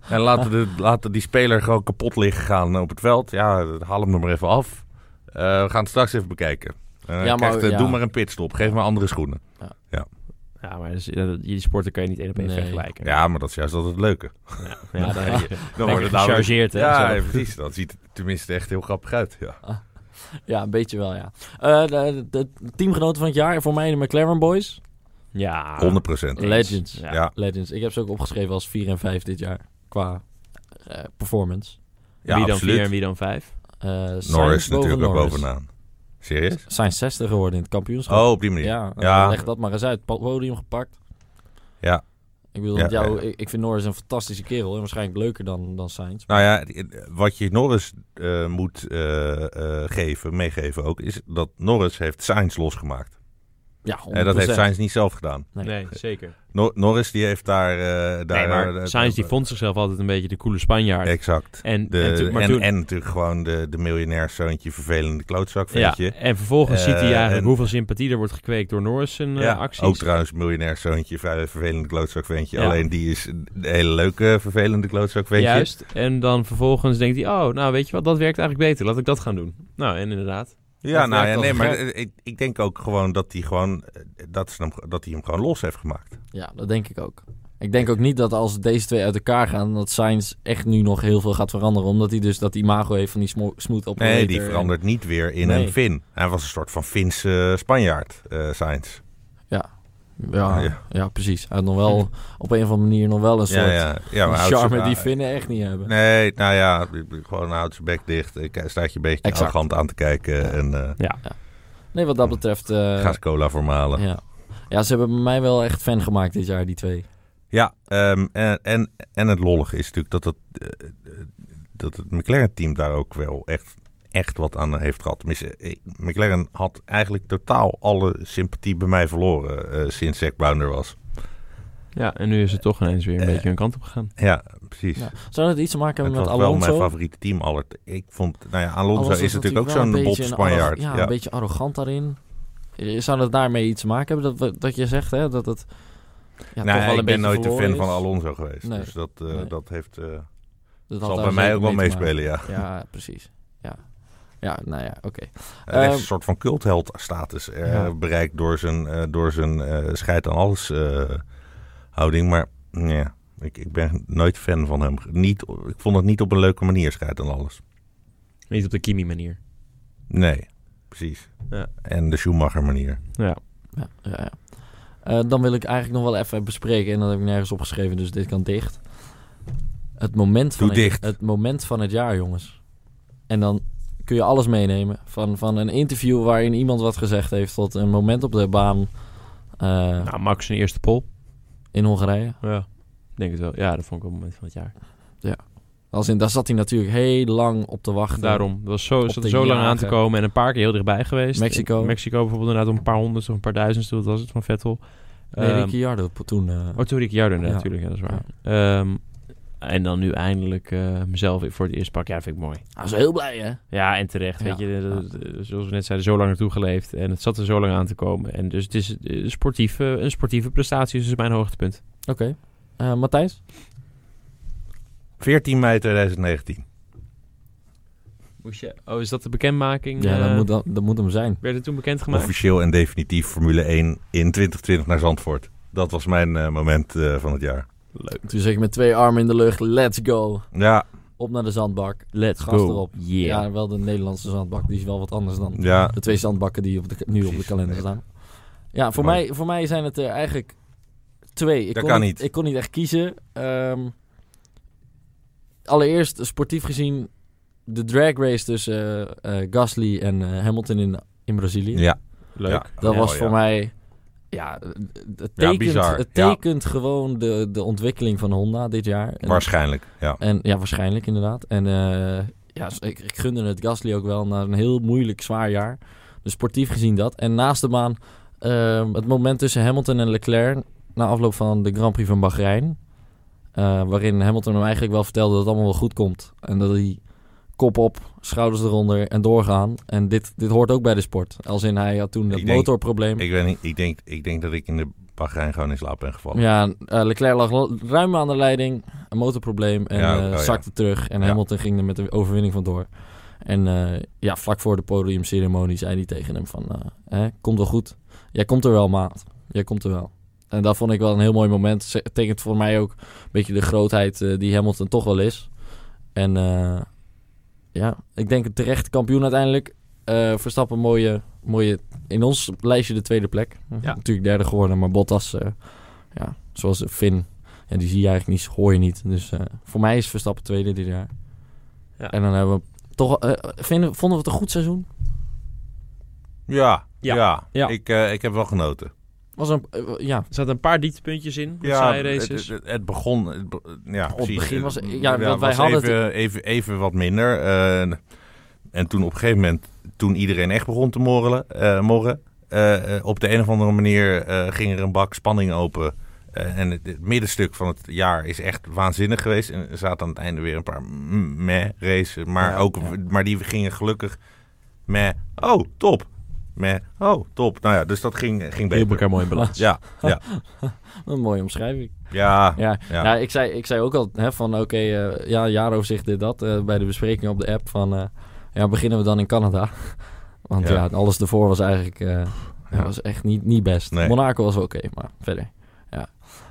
S3: en laten, de, laten die speler gewoon kapot liggen gaan op het veld. Ja, haal hem er maar even af. Eh, we gaan het straks even bekijken. Eh,
S2: Ja, maar-
S3: krijgt, eh,
S2: ja.
S3: Doe maar een pitstop, geef maar andere schoenen.
S1: Ja, maar dus, eh, die sporten kan je niet één op één
S2: Nee.
S1: vergelijken.
S3: Ja, maar dat is juist altijd het leuke.
S1: ja,
S2: Ja,
S1: daar
S2: ja.
S1: heb je.
S3: Dan
S1: Lekker gechargeerd, hè? Ah.
S3: Ja,
S1: zelf.
S3: ja, precies. Dat ziet het tenminste echt heel grappig uit. Ja.
S2: Ja, een beetje wel, ja. Eh, de, de teamgenoten van het jaar, voor mij de McLaren Boys.
S1: (laughs) ja.
S3: 100 procent.
S1: Eens.
S2: Legends.
S1: Ja.
S3: Ja.
S2: Legends. Ik heb ze ook opgeschreven als 4 en 5 dit jaar. Qua eh, performance.
S3: Ja,
S1: wie dan
S3: absoluut.
S1: vier en wie dan vijf?
S2: Eh, Sainz
S3: Norris
S2: boven
S3: natuurlijk ook
S2: Norris.
S3: bovenaan. Serieus?
S2: Zijn 60 geworden in het kampioenschap.
S3: Oh, op die manier.
S2: Ja, nou,
S3: Ja.
S2: leg dat maar eens uit. Pa- Podium gepakt.
S3: Ja.
S2: Ik bedoel,
S3: Ja,
S2: want jou,
S3: ja,
S2: Ik, ik vind Norris een fantastische kerel. En waarschijnlijk leuker dan, dan Sainz.
S3: Nou ja, die- wat je Norris eh, moet eh, eh, geven, meegeven ook, is dat Norris heeft Sainz losgemaakt.
S2: Ja, 100%.
S3: En dat heeft Sainz niet zelf gedaan.
S2: Nee.
S1: zeker.
S3: Nor- Norris die heeft daar... eh
S1: nee,
S3: daar
S1: maar
S3: eh,
S1: Sainz die vond zichzelf altijd een beetje de coole Spanjaard.
S3: Exact.
S1: en,
S3: De,
S1: en, toen- maar
S3: en,
S1: toen,
S3: en natuurlijk gewoon de, de miljonairzoontje, vervelende klootzak,
S1: ja,
S3: vind je.
S1: en vervolgens
S3: Eh,
S1: ziet hij eigenlijk
S3: en-
S1: hoeveel sympathie er wordt gekweekt door Norris zijn eh, acties.
S3: ook trouwens miljonairzoontje, vrij vervelende klootzak, vind je.
S1: Ja.
S3: Alleen die is een hele leuke, vervelende klootzak, vind je.
S1: Juist. En dan vervolgens denkt hij, oh, nou weet je wat, dat werkt eigenlijk beter. Laat ik dat gaan doen. Nou, en inderdaad.
S3: Ja,
S2: Dat
S3: nou
S2: werkt
S3: ja,
S2: als
S3: nee,
S2: een
S3: maar
S2: gek.
S3: eh, ik, ik denk ook gewoon dat hij gewoon, eh, dat, ze hem, dat hij hem gewoon los heeft gemaakt.
S2: Ja, dat denk ik ook. Ik denk ook niet dat als deze twee uit elkaar gaan... dat Sainz echt nu nog heel veel gaat veranderen. Omdat hij dus dat imago heeft van die smo- smooth operator.
S3: Nee, die
S2: en-
S3: verandert niet weer in
S2: Nee.
S3: een Fin. Hij was een soort van Finse eh, Spanjaard, eh Sainz.
S2: Ja, ja.
S3: Ja.
S2: precies. Hij had nog
S3: (laughs)
S2: wel op een of andere manier nog wel een soort
S3: Ja, ja, ja, maar houdt
S2: charme
S3: ze-
S2: die Finnen echt niet hebben.
S3: Nee, nou ja, gewoon houdt zijn bek dicht. eh, k- Staat je een beetje
S2: Exact.
S3: arrogant aan te kijken en eh,
S2: Nee, wat dat betreft... eh,
S3: gaat cola voor malen.
S2: ja. ja, ze hebben mij wel echt fan gemaakt dit jaar, die twee.
S3: Ja, ehm, en, en, en het lollige is natuurlijk dat het, eh, eh, dat het McLaren-team daar ook wel echt, echt wat aan heeft gehad. Tenminste, eh, McLaren had eigenlijk totaal alle sympathie bij mij verloren eh, sinds Zack Brown er was.
S1: Ja, en nu is het toch ineens weer een
S3: Eh,
S1: beetje hun kant op gegaan.
S3: Ja, precies.
S2: Ja. Zou dat iets te maken
S3: Het
S2: hebben
S3: was
S2: met
S3: wel mijn
S2: Alonso?
S3: favoriete team. Aller. Ik vond, nou ja, Alonso,
S2: Alonso
S3: is natuurlijk ook
S2: wel
S3: zo'n
S2: een
S3: bob
S2: beetje een
S3: Spanjaard.
S2: arro- Ja,
S3: Ja,
S2: een beetje arrogant daarin. Eh, Zou dat daarmee iets te maken hebben? Dat, we- dat je zegt hè, dat het. Ja,
S3: nou,
S2: toch wel een
S3: ik ben
S2: beetje
S3: nooit een
S2: verloren
S3: fan
S2: is.
S3: van Alonso geweest.
S2: Nee.
S3: Dus dat, eh,
S2: Nee.
S3: dat heeft, eh,
S2: Dat had
S3: zal
S2: daar
S3: bij mij
S2: zeker
S3: ook wel
S2: mee te maken.
S3: meespelen, ja.
S2: Ja, precies. Ja. Ja, nou ja, oké.
S3: Hij heeft
S2: Eh,
S3: een soort van cultheldstatus eh,
S2: Ja.
S3: bereikt door zijn, eh, door zijn eh, scheid aan alles eh, houding. Maar nee, ik, ik ben nooit fan van hem. Niet, ik vond het niet op een leuke manier, scheid aan alles.
S1: Niet op de Kimi-manier.
S3: Nee, precies.
S1: Ja.
S3: En de Schumacher manier.
S1: Ja.
S2: Ja, ja, ja. Eh, dan wil ik eigenlijk nog wel even bespreken. En dat heb ik nergens opgeschreven, dus dit kan dicht. Het moment van,
S3: Doe
S2: het,
S3: dicht.
S2: het moment van het jaar, jongens. En dan kun je alles meenemen. Van, van een interview waarin iemand wat gezegd heeft... tot een moment op de baan eh,
S1: Nou, Max zijn eerste pol.
S2: in Hongarije.
S1: Ja. Ik denk het wel. Ja, dat vond ik wel het moment van het jaar.
S2: Als in, daar zat hij natuurlijk heel lang op te wachten.
S1: Daarom. Dat was zo, zat
S2: de
S1: er zo lang
S2: jagen.
S1: aan te komen en een paar keer heel dichtbij geweest.
S2: Mexico.
S1: In Mexico bijvoorbeeld inderdaad om een paar honderd of een paar duizend. Wat was het van Vettel?
S2: Nee,
S1: Ehm,
S2: Eh, Ricciardo toen... eh,
S1: Oh, toen Ricciardo
S2: Ja.
S1: natuurlijk, ja, dat is waar. Ehm, en dan nu eindelijk eh, mezelf weer voor het eerst pak. Ja, dat vind ik mooi.
S2: Hij was heel blij, hè?
S1: Ja, en terecht.
S2: Ja.
S1: Weet je, dat- dat- zoals we net zeiden, zo lang naartoe geleefd. En het zat er zo lang aan te komen. En dus het is eh, sportief, eh, een sportieve prestatie. Dus is mijn hoogtepunt.
S2: Oké. Eh, Matthijs?
S3: 14 mei 2019.
S1: Oh, is dat de bekendmaking?
S2: Ja,
S1: Eh,
S2: dat moet, dan- dat moet hem zijn.
S1: Werd het toen bekendgemaakt?
S3: Officieel en definitief Formule 1 in 2020 naar Zandvoort. Dat was mijn eh, moment eh, van het jaar.
S1: Leuk.
S2: Toen zeg ik met twee armen in de lucht, let's go.
S3: Ja,
S2: Op naar de zandbak.
S1: Let's
S2: Gas
S1: go.
S2: erop.
S1: Yeah.
S2: Ja, wel de Nederlandse zandbak. Die is wel wat anders dan
S3: ja.
S2: de twee zandbakken die op de, nu op de
S3: Precies.
S2: kalender
S3: Nee.
S2: staan. Ja, voor
S3: Mooi.
S2: mij, voor mij zijn het er eigenlijk twee. Ik
S3: Dat
S2: kon
S3: kan niet.
S2: Ik kon niet echt kiezen. Ehm, allereerst, sportief gezien, de drag race tussen eh, eh, Gasly en eh, Hamilton in, in Brazilië.
S3: ja.
S1: Leuk.
S3: Ja.
S2: Dat
S3: Oh,
S2: was
S3: ja.
S2: voor mij... Ja, het
S3: Ja,
S2: tekent,
S3: bizar.
S2: het
S3: Ja.
S2: tekent gewoon de, de ontwikkeling van Honda dit jaar. En-
S3: Waarschijnlijk, ja.
S2: en ja, waarschijnlijk inderdaad. En eh, ja, s- ik, ik gunde het Gasly ook wel na een heel moeilijk, zwaar jaar. Dus sportief gezien dat. En naast de baan ehm, het moment tussen Hamilton en Leclerc na afloop van de Grand Prix van Bahrein. eh, waarin Hamilton hem eigenlijk wel vertelde dat het allemaal wel goed komt. En dat hij kop op, schouders eronder en doorgaan. En dit, dit hoort ook bij de sport. Als in hij had toen dat
S3: Ik denk-
S2: motorprobleem.
S3: Ik, weet niet, ik, denk, ik denk dat ik in de Bahrein gewoon in slaap ben gevallen.
S2: Ja, eh, Leclerc lag l- ruim aan de leiding. Een motorprobleem en
S3: Ja,
S2: eh,
S3: oh ja.
S2: zakte terug. En
S3: Ja.
S2: Hamilton ging er met de overwinning vandoor. En eh, ja, vlak voor de podiumceremonie zei hij tegen hem van... eh, hè, komt wel goed. Jij komt er wel, maat. Jij komt er wel. En dat vond ik wel een heel mooi moment. Ze- Het tekent voor mij ook een beetje de grootheid eh, die Hamilton toch wel is. En eh, ja, ik denk een terecht kampioen uiteindelijk. Eh, Verstappen mooie, mooie, in ons lijstje de tweede plek.
S1: Ja.
S2: Natuurlijk derde geworden, maar Bottas, eh, ja, zoals de Finn, ja, die zie je eigenlijk niet, hoor je niet. Dus eh, voor mij is Verstappen tweede dit jaar.
S1: Ja.
S2: En dan hebben we toch, eh, vinden, vonden we het een goed seizoen?
S3: Ja,
S1: Ja.
S3: ja.
S1: Ja.
S3: Ik, eh, ik heb wel genoten.
S2: Was een, eh, ja,
S1: Er zaten een paar dieptepuntjes in. met
S3: Ja,
S1: saaie
S3: het,
S1: races.
S3: het, het begon... Het, be- ja,
S2: Op het
S3: precies.
S2: begin was-
S3: Het-
S2: ja, want wij
S3: was
S2: hadden het-
S3: even, even, even wat minder. eh, en toen op een gegeven moment, toen iedereen echt begon te morrelen, eh, morren... eh, eh, op de een of andere manier eh, ging er een bak spanning open. Eh, en het, het middenstuk van het jaar is echt waanzinnig geweest. En er zaten aan het einde weer een paar mm, meh races. Maar,
S2: Ja,
S3: ook,
S2: ja.
S3: maar die gingen gelukkig meh. Oh, top. Meh. Oh, top. Nou ja, dus dat ging, ging
S1: Hielp
S3: beter.
S1: elkaar mooi in balans.
S3: Ja,
S2: een mooie omschrijving.
S3: ja.
S2: Ja,
S3: Ja.
S2: Nou, ik, zei, ik zei ook al hè, van oké, eh, ja, jaaroverzicht dit dat. eh, bij de bespreking op de app van eh, ja, beginnen we dan in Canada. (laughs) Want ja,
S3: Ja.
S2: alles ervoor was eigenlijk eh, ja, was echt niet, niet best.
S3: Nee.
S2: Monaco was wel oké, maar verder. Ja.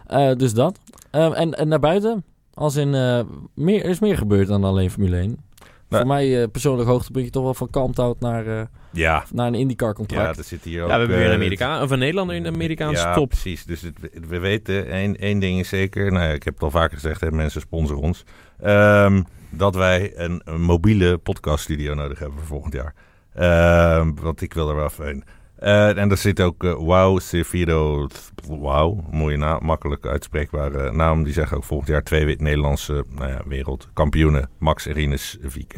S2: Eh, dus dat. Eh, en, en naar buiten, als in eh, meer, er is meer gebeurd dan alleen Formule 1.
S3: Nou,
S2: Voor mij eh, persoonlijk hoogtepuntje toch wel van Kalmthout naar, eh,
S3: Ja,
S2: naar een IndyCar
S3: ja,
S2: contract.
S3: dat zit hier
S1: Ja,
S3: ook.
S1: we hebben weer
S3: eh,
S1: een Amerikaan, of een Nederlander in de Amerikaanse
S3: ja,
S1: top.
S3: precies. Dus het- het- we weten, één, één ding is zeker. Nou ja, ik heb het al vaker gezegd, hè, mensen sponsor ons. Ehm, dat wij een, een mobiele podcaststudio nodig hebben voor volgend jaar. Ehm, want ik wil er wel even heen. Eh, en daar zit ook eh, Wow Servido. Wow, mooie naam, makkelijk uitspreekbare naam. Die zeggen ook volgend jaar twee wit- Nederlandse nou ja, wereldkampioenen. Max en Rinus VK.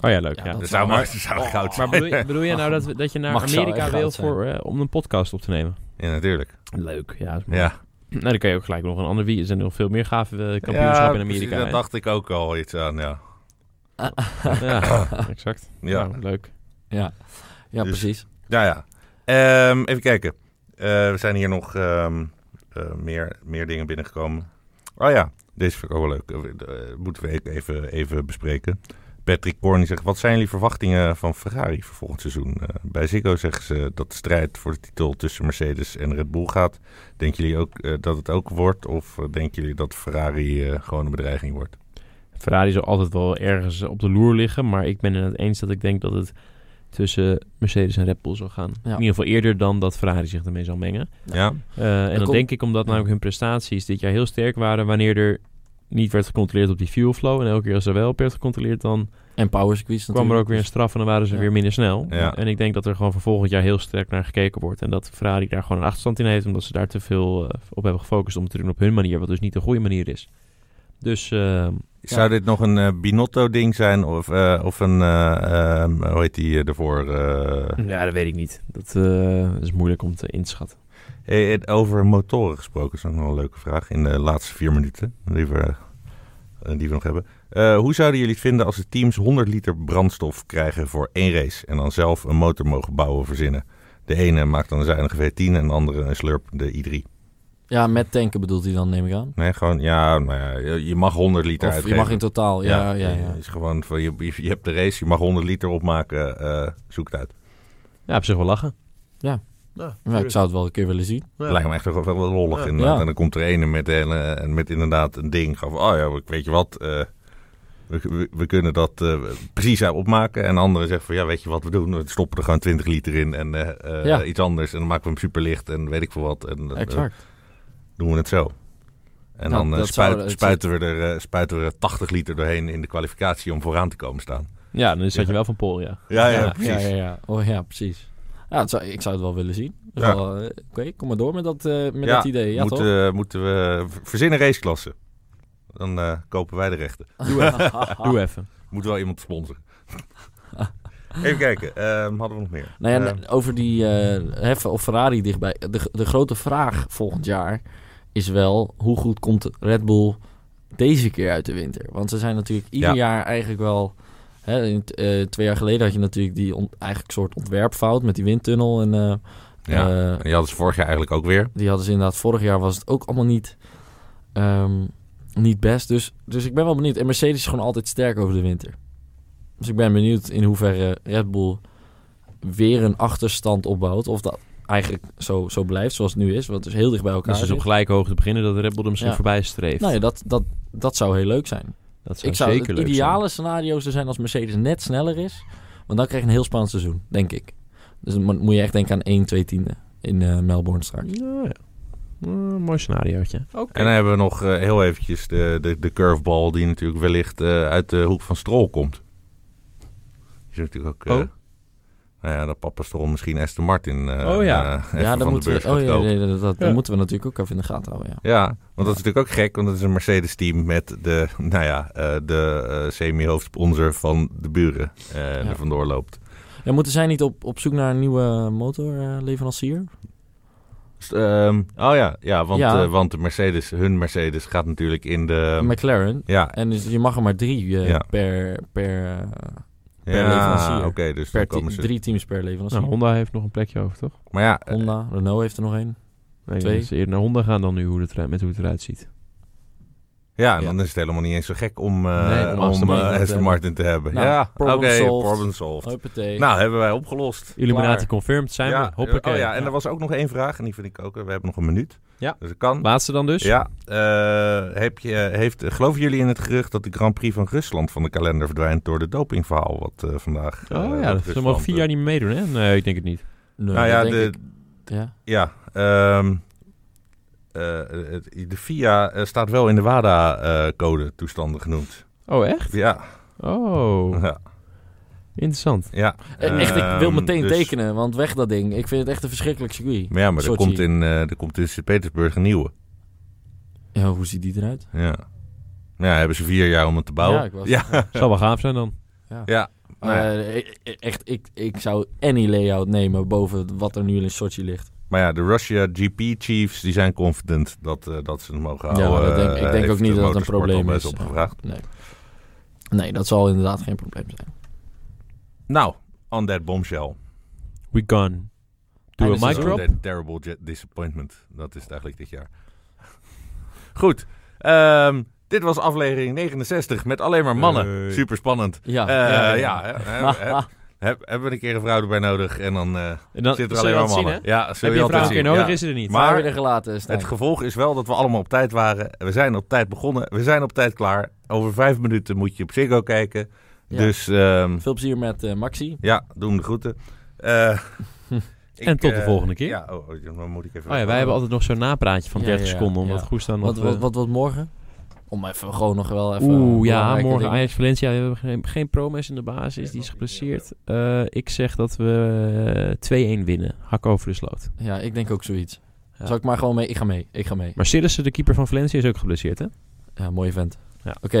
S1: Oh ja, leuk.
S2: Ja,
S1: Ja,
S2: dat-
S3: Dat zou
S2: wel-
S3: maar dat zou goud
S1: Oh, Maar
S3: zijn.
S1: bedoel je, bedoel je nou
S3: (laughs)
S1: dat, we- dat je naar
S2: Mag zou
S1: Amerika
S2: echt goud
S1: wil
S2: zijn.
S1: voor, eh, om een podcast op te nemen?
S3: Ja, natuurlijk.
S1: Leuk, ja. is mooi.
S3: Ja.
S1: Nou, dan kan je ook gelijk nog een ander wie. Er zijn nog veel meer gave eh, kampioenschappen in Amerika.
S3: precies,
S1: hè?
S3: Daar dacht ik ook al iets aan, ja. (laughs)
S1: Ja, exact.
S3: Ja,
S1: Nou, leuk.
S2: Ja, ja
S3: Dus-
S2: precies.
S3: ja. ja. Ehm, even kijken. Eh, we zijn hier nog ehm, eh, meer, meer dingen Ah binnengekomen. Oh ja, deze vind ik ook wel leuk. Eh, we- eh, moeten we even, even bespreken. Patrick Korn die zegt, wat zijn jullie verwachtingen van Ferrari voor volgend seizoen? Eh, bij Ziggo zeggen ze dat de strijd voor de titel tussen Mercedes en Red Bull gaat. Denken jullie ook eh, dat het ook wordt? Of eh, denken jullie dat Ferrari eh, gewoon een bedreiging wordt?
S1: Ferrari zal altijd wel ergens op de loer liggen. Maar ik ben het eens dat ik denk dat het tussen Mercedes en Red Bull zal gaan. In ieder geval eerder dan dat Ferrari zich ermee zal mengen.
S3: Ja,
S1: Eh, en dat
S2: komt-
S1: denk ik omdat
S2: ja.
S1: namelijk hun prestaties dit jaar heel sterk waren wanneer er niet werd gecontroleerd op die fuel flow. En elke keer als er wel op werd gecontroleerd, dan
S2: En power squeeze natuurlijk.
S1: kwam er ook weer een straf en dan waren ze
S2: Ja.
S1: weer minder snel.
S3: Ja.
S1: En ik denk dat er gewoon voor volgend jaar heel sterk naar gekeken wordt. En dat Ferrari daar gewoon een achterstand in heeft, omdat ze daar te veel eh, op hebben gefocust om te doen op hun manier, wat dus niet de goede manier is. Dus eh,
S3: Zou dit nog een eh, Binotto-ding zijn? Of, eh, of een, eh, ehm, hoe heet die eh, ervoor? eh,
S1: ja, dat weet ik niet. Dat eh, is moeilijk om te inschatten.
S3: Hey, Eh, het- over motoren gesproken is ook nog wel een leuke vraag. In de laatste vier minuten die we, eh, die we nog hebben. Eh, hoe zouden jullie het vinden als de teams 100 liter brandstof krijgen voor één race... en dan zelf een motor mogen bouwen of verzinnen? De ene maakt dan een zuinige V10 en de andere een slurpende i3.
S2: Ja, met tanken bedoelt hij dan, neem ik aan.
S3: Nee, gewoon, ja, nou ja, je- je mag 100 liter
S2: Of je
S3: uitgeven.
S2: mag in totaal, ja, ja, ja.
S3: het Is gewoon van, je, je- je hebt de race, je mag 100 liter opmaken, eh, zoek het uit.
S1: Ja, op zich wel lachen.
S2: Ja, ik zou het wel een keer willen zien.
S3: Lijkt me echt wel wel lollig
S1: Ja.
S3: inderdaad.
S2: Ja.
S3: En dan komt er ene met, de hele- en met inderdaad een ding. Van, oh ja, ik weet je wat, eh, we, we, we kunnen dat eh, precies zo opmaken. En de andere zegt van, ja, weet je wat we doen? We stoppen er gewoon 20 liter in en eh, eh,
S2: Ja.
S3: iets anders. En dan maken we hem superlicht en weet ik veel wat. En dan eh,
S2: Exact.
S3: doen we het zo. En
S2: Nou,
S3: dan eh,
S2: dat
S3: spuit-
S2: zou- het-
S3: spuiten, we er, eh, spuiten we er 80 liter doorheen in de kwalificatie om vooraan te komen staan.
S1: Ja, dan zat je wel van Pol, ja.
S3: Ja, ja,
S2: ja,
S3: precies.
S2: Ja, ja, ja. Oh, ja precies. Ja, het zou, ik zou het wel willen zien. Dus
S3: Ja.
S2: wel, eh, Oké, kom maar door met dat, eh, met
S3: Ja,
S2: dat idee. Ja, (laughs)
S3: moeten,
S2: toch?
S3: moeten we verzinnen raceklassen? Dan eh, kopen wij de rechten.
S2: Ah.
S1: Doe even.
S3: Moet wel iemand sponsoren. (laughs) Even kijken, ehm, hadden we nog meer?
S2: Nou ja,
S3: Ehm,
S2: en over die eh, heffen of Ferrari dichtbij. De, de grote vraag volgend jaar is wel... hoe goed komt Red Bull deze keer uit de winter? Want ze zijn natuurlijk ieder
S3: Ja.
S2: jaar eigenlijk wel... Hè, in t- eh, twee jaar geleden had je natuurlijk die on- eigenlijk soort ontwerpfout... met die windtunnel. En, eh,
S3: ja.
S2: eh,
S3: en die hadden ze vorig jaar eigenlijk ook weer.
S2: die hadden ze inderdaad... vorig jaar was het ook allemaal niet, ehm, niet best. Dus, dus ik ben wel benieuwd. En Mercedes is gewoon altijd sterk over de winter. Dus ik ben benieuwd in hoeverre Red Bull weer een achterstand opbouwt. Of dat eigenlijk zo, zo blijft zoals het nu is. Want het is heel dicht bij elkaar
S1: Als ze dus op
S2: zit.
S1: gelijke hoogte beginnen, dat de Red Bull er misschien
S2: Ja.
S1: voorbij streeft.
S2: Nou ja, dat, dat, dat zou heel leuk zijn.
S1: dat zou
S2: ik zou
S1: zeker
S2: het
S1: leuk zijn.
S2: ideale scenario zou zijn als Mercedes net sneller is. Want dan krijg je een heel spannend seizoen, denk ik. Dus dan mo- moet je echt denken aan 1, 2 tiende in eh, Melbourne straks.
S1: Nou ja. Eh, mooi scenariootje.
S3: En dan hebben we nog eh, heel eventjes de, de, de curveball die natuurlijk wellicht eh, uit de hoek van Strol komt. Die is natuurlijk ook... eh,
S1: Oh.
S3: Nou ja, dat papa Strol misschien Aston Martin eh,
S1: Oh ja.
S3: eh, even
S2: ja, dan
S3: van de
S2: moeten
S3: beurs
S2: we,
S3: gaat
S2: oh, ja,
S3: kopen.
S2: nee, dat, dat- dat
S1: Ja.
S2: moeten we natuurlijk ook even in de gaten houden. Ja.
S3: Ja, want dat is natuurlijk ook gek, want het is een Mercedes-team met de, (laughs) nou ja, eh, de eh, semi-hoofdsponsor van de buren eh
S2: Ja.
S3: er vandoor loopt.
S2: Ja, moeten zij niet op, op zoek naar een nieuwe eh, motorleverancier?
S3: Dus, ehm, oh ja, ja, want,
S2: Ja.
S3: eh, want de Mercedes, hun Mercedes gaat natuurlijk in de...
S2: McLaren.
S3: ja,
S2: En dus je mag er maar drie eh,
S3: Ehm. Ja.
S2: per, per, eh, per
S3: ja
S2: leverancier.
S3: oké, dus
S2: per
S3: dan komen
S2: te-
S3: ze...
S2: drie teams per leverancier.
S1: Nou, Honda heeft nog een plekje over, toch?
S3: Maar ja, eh,
S2: Honda, Renault heeft er nog één.
S1: Nee,
S2: Twee.
S1: dat ze eerder naar Honda gaan dan nu hoe het, eruit- met hoe het eruit ziet.
S3: ja, en dan is het helemaal niet eens zo gek om, eh,
S1: Nee,
S3: om,
S1: om Aston
S3: eh,
S1: Martin te
S3: Aston
S1: hebben.
S3: Martin te hebben.
S2: Nou,
S3: ja, oké,
S2: problem solved.
S3: problem solved.
S2: Huppatee.
S3: Nou, hebben wij opgelost.
S1: Illuminati
S3: Klaar.
S1: confirmed zijn
S3: ja,
S1: we. Hoppakee.
S3: Oh ja, en er was ook nog één vraag, en die vind ik ook, eh, we hebben nog een minuut.
S1: Ja.
S3: Dus dat kan.
S1: Laatste dan dus.
S3: Ja, eh, heb je, heeft, geloven jullie in het gerucht dat de Grand Prix van Rusland van de kalender verdwijnt door de dopingverhaal wat eh, vandaag... eh,
S1: Oh
S3: wat
S1: ja, ze
S3: Rusland,
S1: mogen vier
S3: eh,
S1: jaar niet meer meedoen, hè? Nee, ik denk het niet.
S2: Nee,
S3: Nou ja,
S2: dat
S3: de,
S2: denk ik. ja.
S3: ja ehm, eh, het- de FIA eh, staat wel in de WADA-code eh, toestanden genoemd.
S1: Oh, echt?
S3: Ja,
S1: Oh,
S3: ja.
S1: interessant.
S3: ja.
S2: Eh, Echt, ik wil
S3: Ehm,
S2: meteen
S3: dus-
S2: tekenen, want weg dat ding. Ik vind het echt een verschrikkelijk circuit.
S3: Maar ja, maar er
S2: Sochi.
S3: komt, in, eh, er komt in Sint-Petersburg een nieuwe.
S2: Ja, hoe ziet die eruit?
S3: Ja. Nou ja, hebben ze vier jaar om het te bouwen.
S2: Ja, ik was-
S3: Ja,
S1: Zal wel gaaf zijn dan.
S3: ja. Nou ja.
S2: Eh, e- e- echt, ik, ik zou any layout nemen boven wat er nu in Sochi ligt.
S3: (laughs) Maar ja, de Russia GP Chiefs die zijn confident dat, eh, dat ze het mogen
S2: Ja,
S3: houden.
S2: maar dat denk- ik
S3: Eh,
S2: denk ook
S3: heeft
S2: niet
S3: de
S2: dat het een
S3: motorsport al
S2: probleem
S3: best
S2: is.
S3: Opgevraagd.
S2: Nee, dat zal inderdaad geen probleem zijn.
S3: Nou, on that bombshell.
S1: We gone. Doe
S2: Einde
S1: een
S2: seizoen.
S1: mic
S3: Micro.
S1: drop.
S3: That terrible (laughs) je- disappointment. Dat is het eigenlijk dit jaar. Goed. Ehm, Dit was aflevering 69 met alleen maar mannen.
S1: Hey. Ah.
S3: Super spannend.
S2: Ja,
S3: ja, Eh, ja. hè, hè,
S2: (laughs)
S1: (laughs)
S3: hè, heb- hebben we een keer een vrouw erbij nodig en dan eh,
S1: En dan
S3: zit er
S1: zul je
S3: alleen maar
S1: dat zien,
S3: mannen.
S1: hè?
S3: ja, zul
S1: Heb je een
S3: altijd
S1: vrouw een keer
S3: zien,
S1: nodig,
S3: ja.
S1: is ze er niet.
S3: Maar-
S2: maar weer gelaten, Stijn.
S3: Het gevolg is wel dat we allemaal op tijd waren. We zijn op tijd begonnen. We zijn op tijd klaar. Over vijf minuten moet je op Ziggo kijken.
S2: Ja.
S3: Dus ehm,
S2: Veel plezier met eh, Maxi.
S3: ja, doe hem de groeten. Eh,
S1: (laughs)
S3: ik,
S1: En tot de
S3: eh,
S1: volgende keer.
S3: Ja, oh, oh, dan moet ik even...
S1: Oh ja, wij hebben altijd nog zo'n napraatje van
S2: Ja,
S1: 30
S2: ja,
S1: seconden. Omdat
S2: ja.
S1: goed staan
S2: Wat,
S1: nog...
S2: wat,
S1: eh,
S2: wat, wat morgen? Om even gewoon nog wel even...
S1: Oeh, ja,
S2: belangrijke
S1: morgen
S2: dingen.
S1: Ajax Valencia. We hebben geen, geen promes in de basis. Die is geblesseerd. Eh, ik zeg dat we eh, 2-1 winnen. Hak over de sloot.
S2: Ja, ik denk ook zoiets.
S1: Ja.
S2: Zal ik maar gewoon mee? Ik ga mee. Ik ga mee.
S1: Maar Sillissen, de keeper van Valencia, is ook geblesseerd, hè?
S2: Ja, mooie vent.
S1: Ja.
S2: Oké,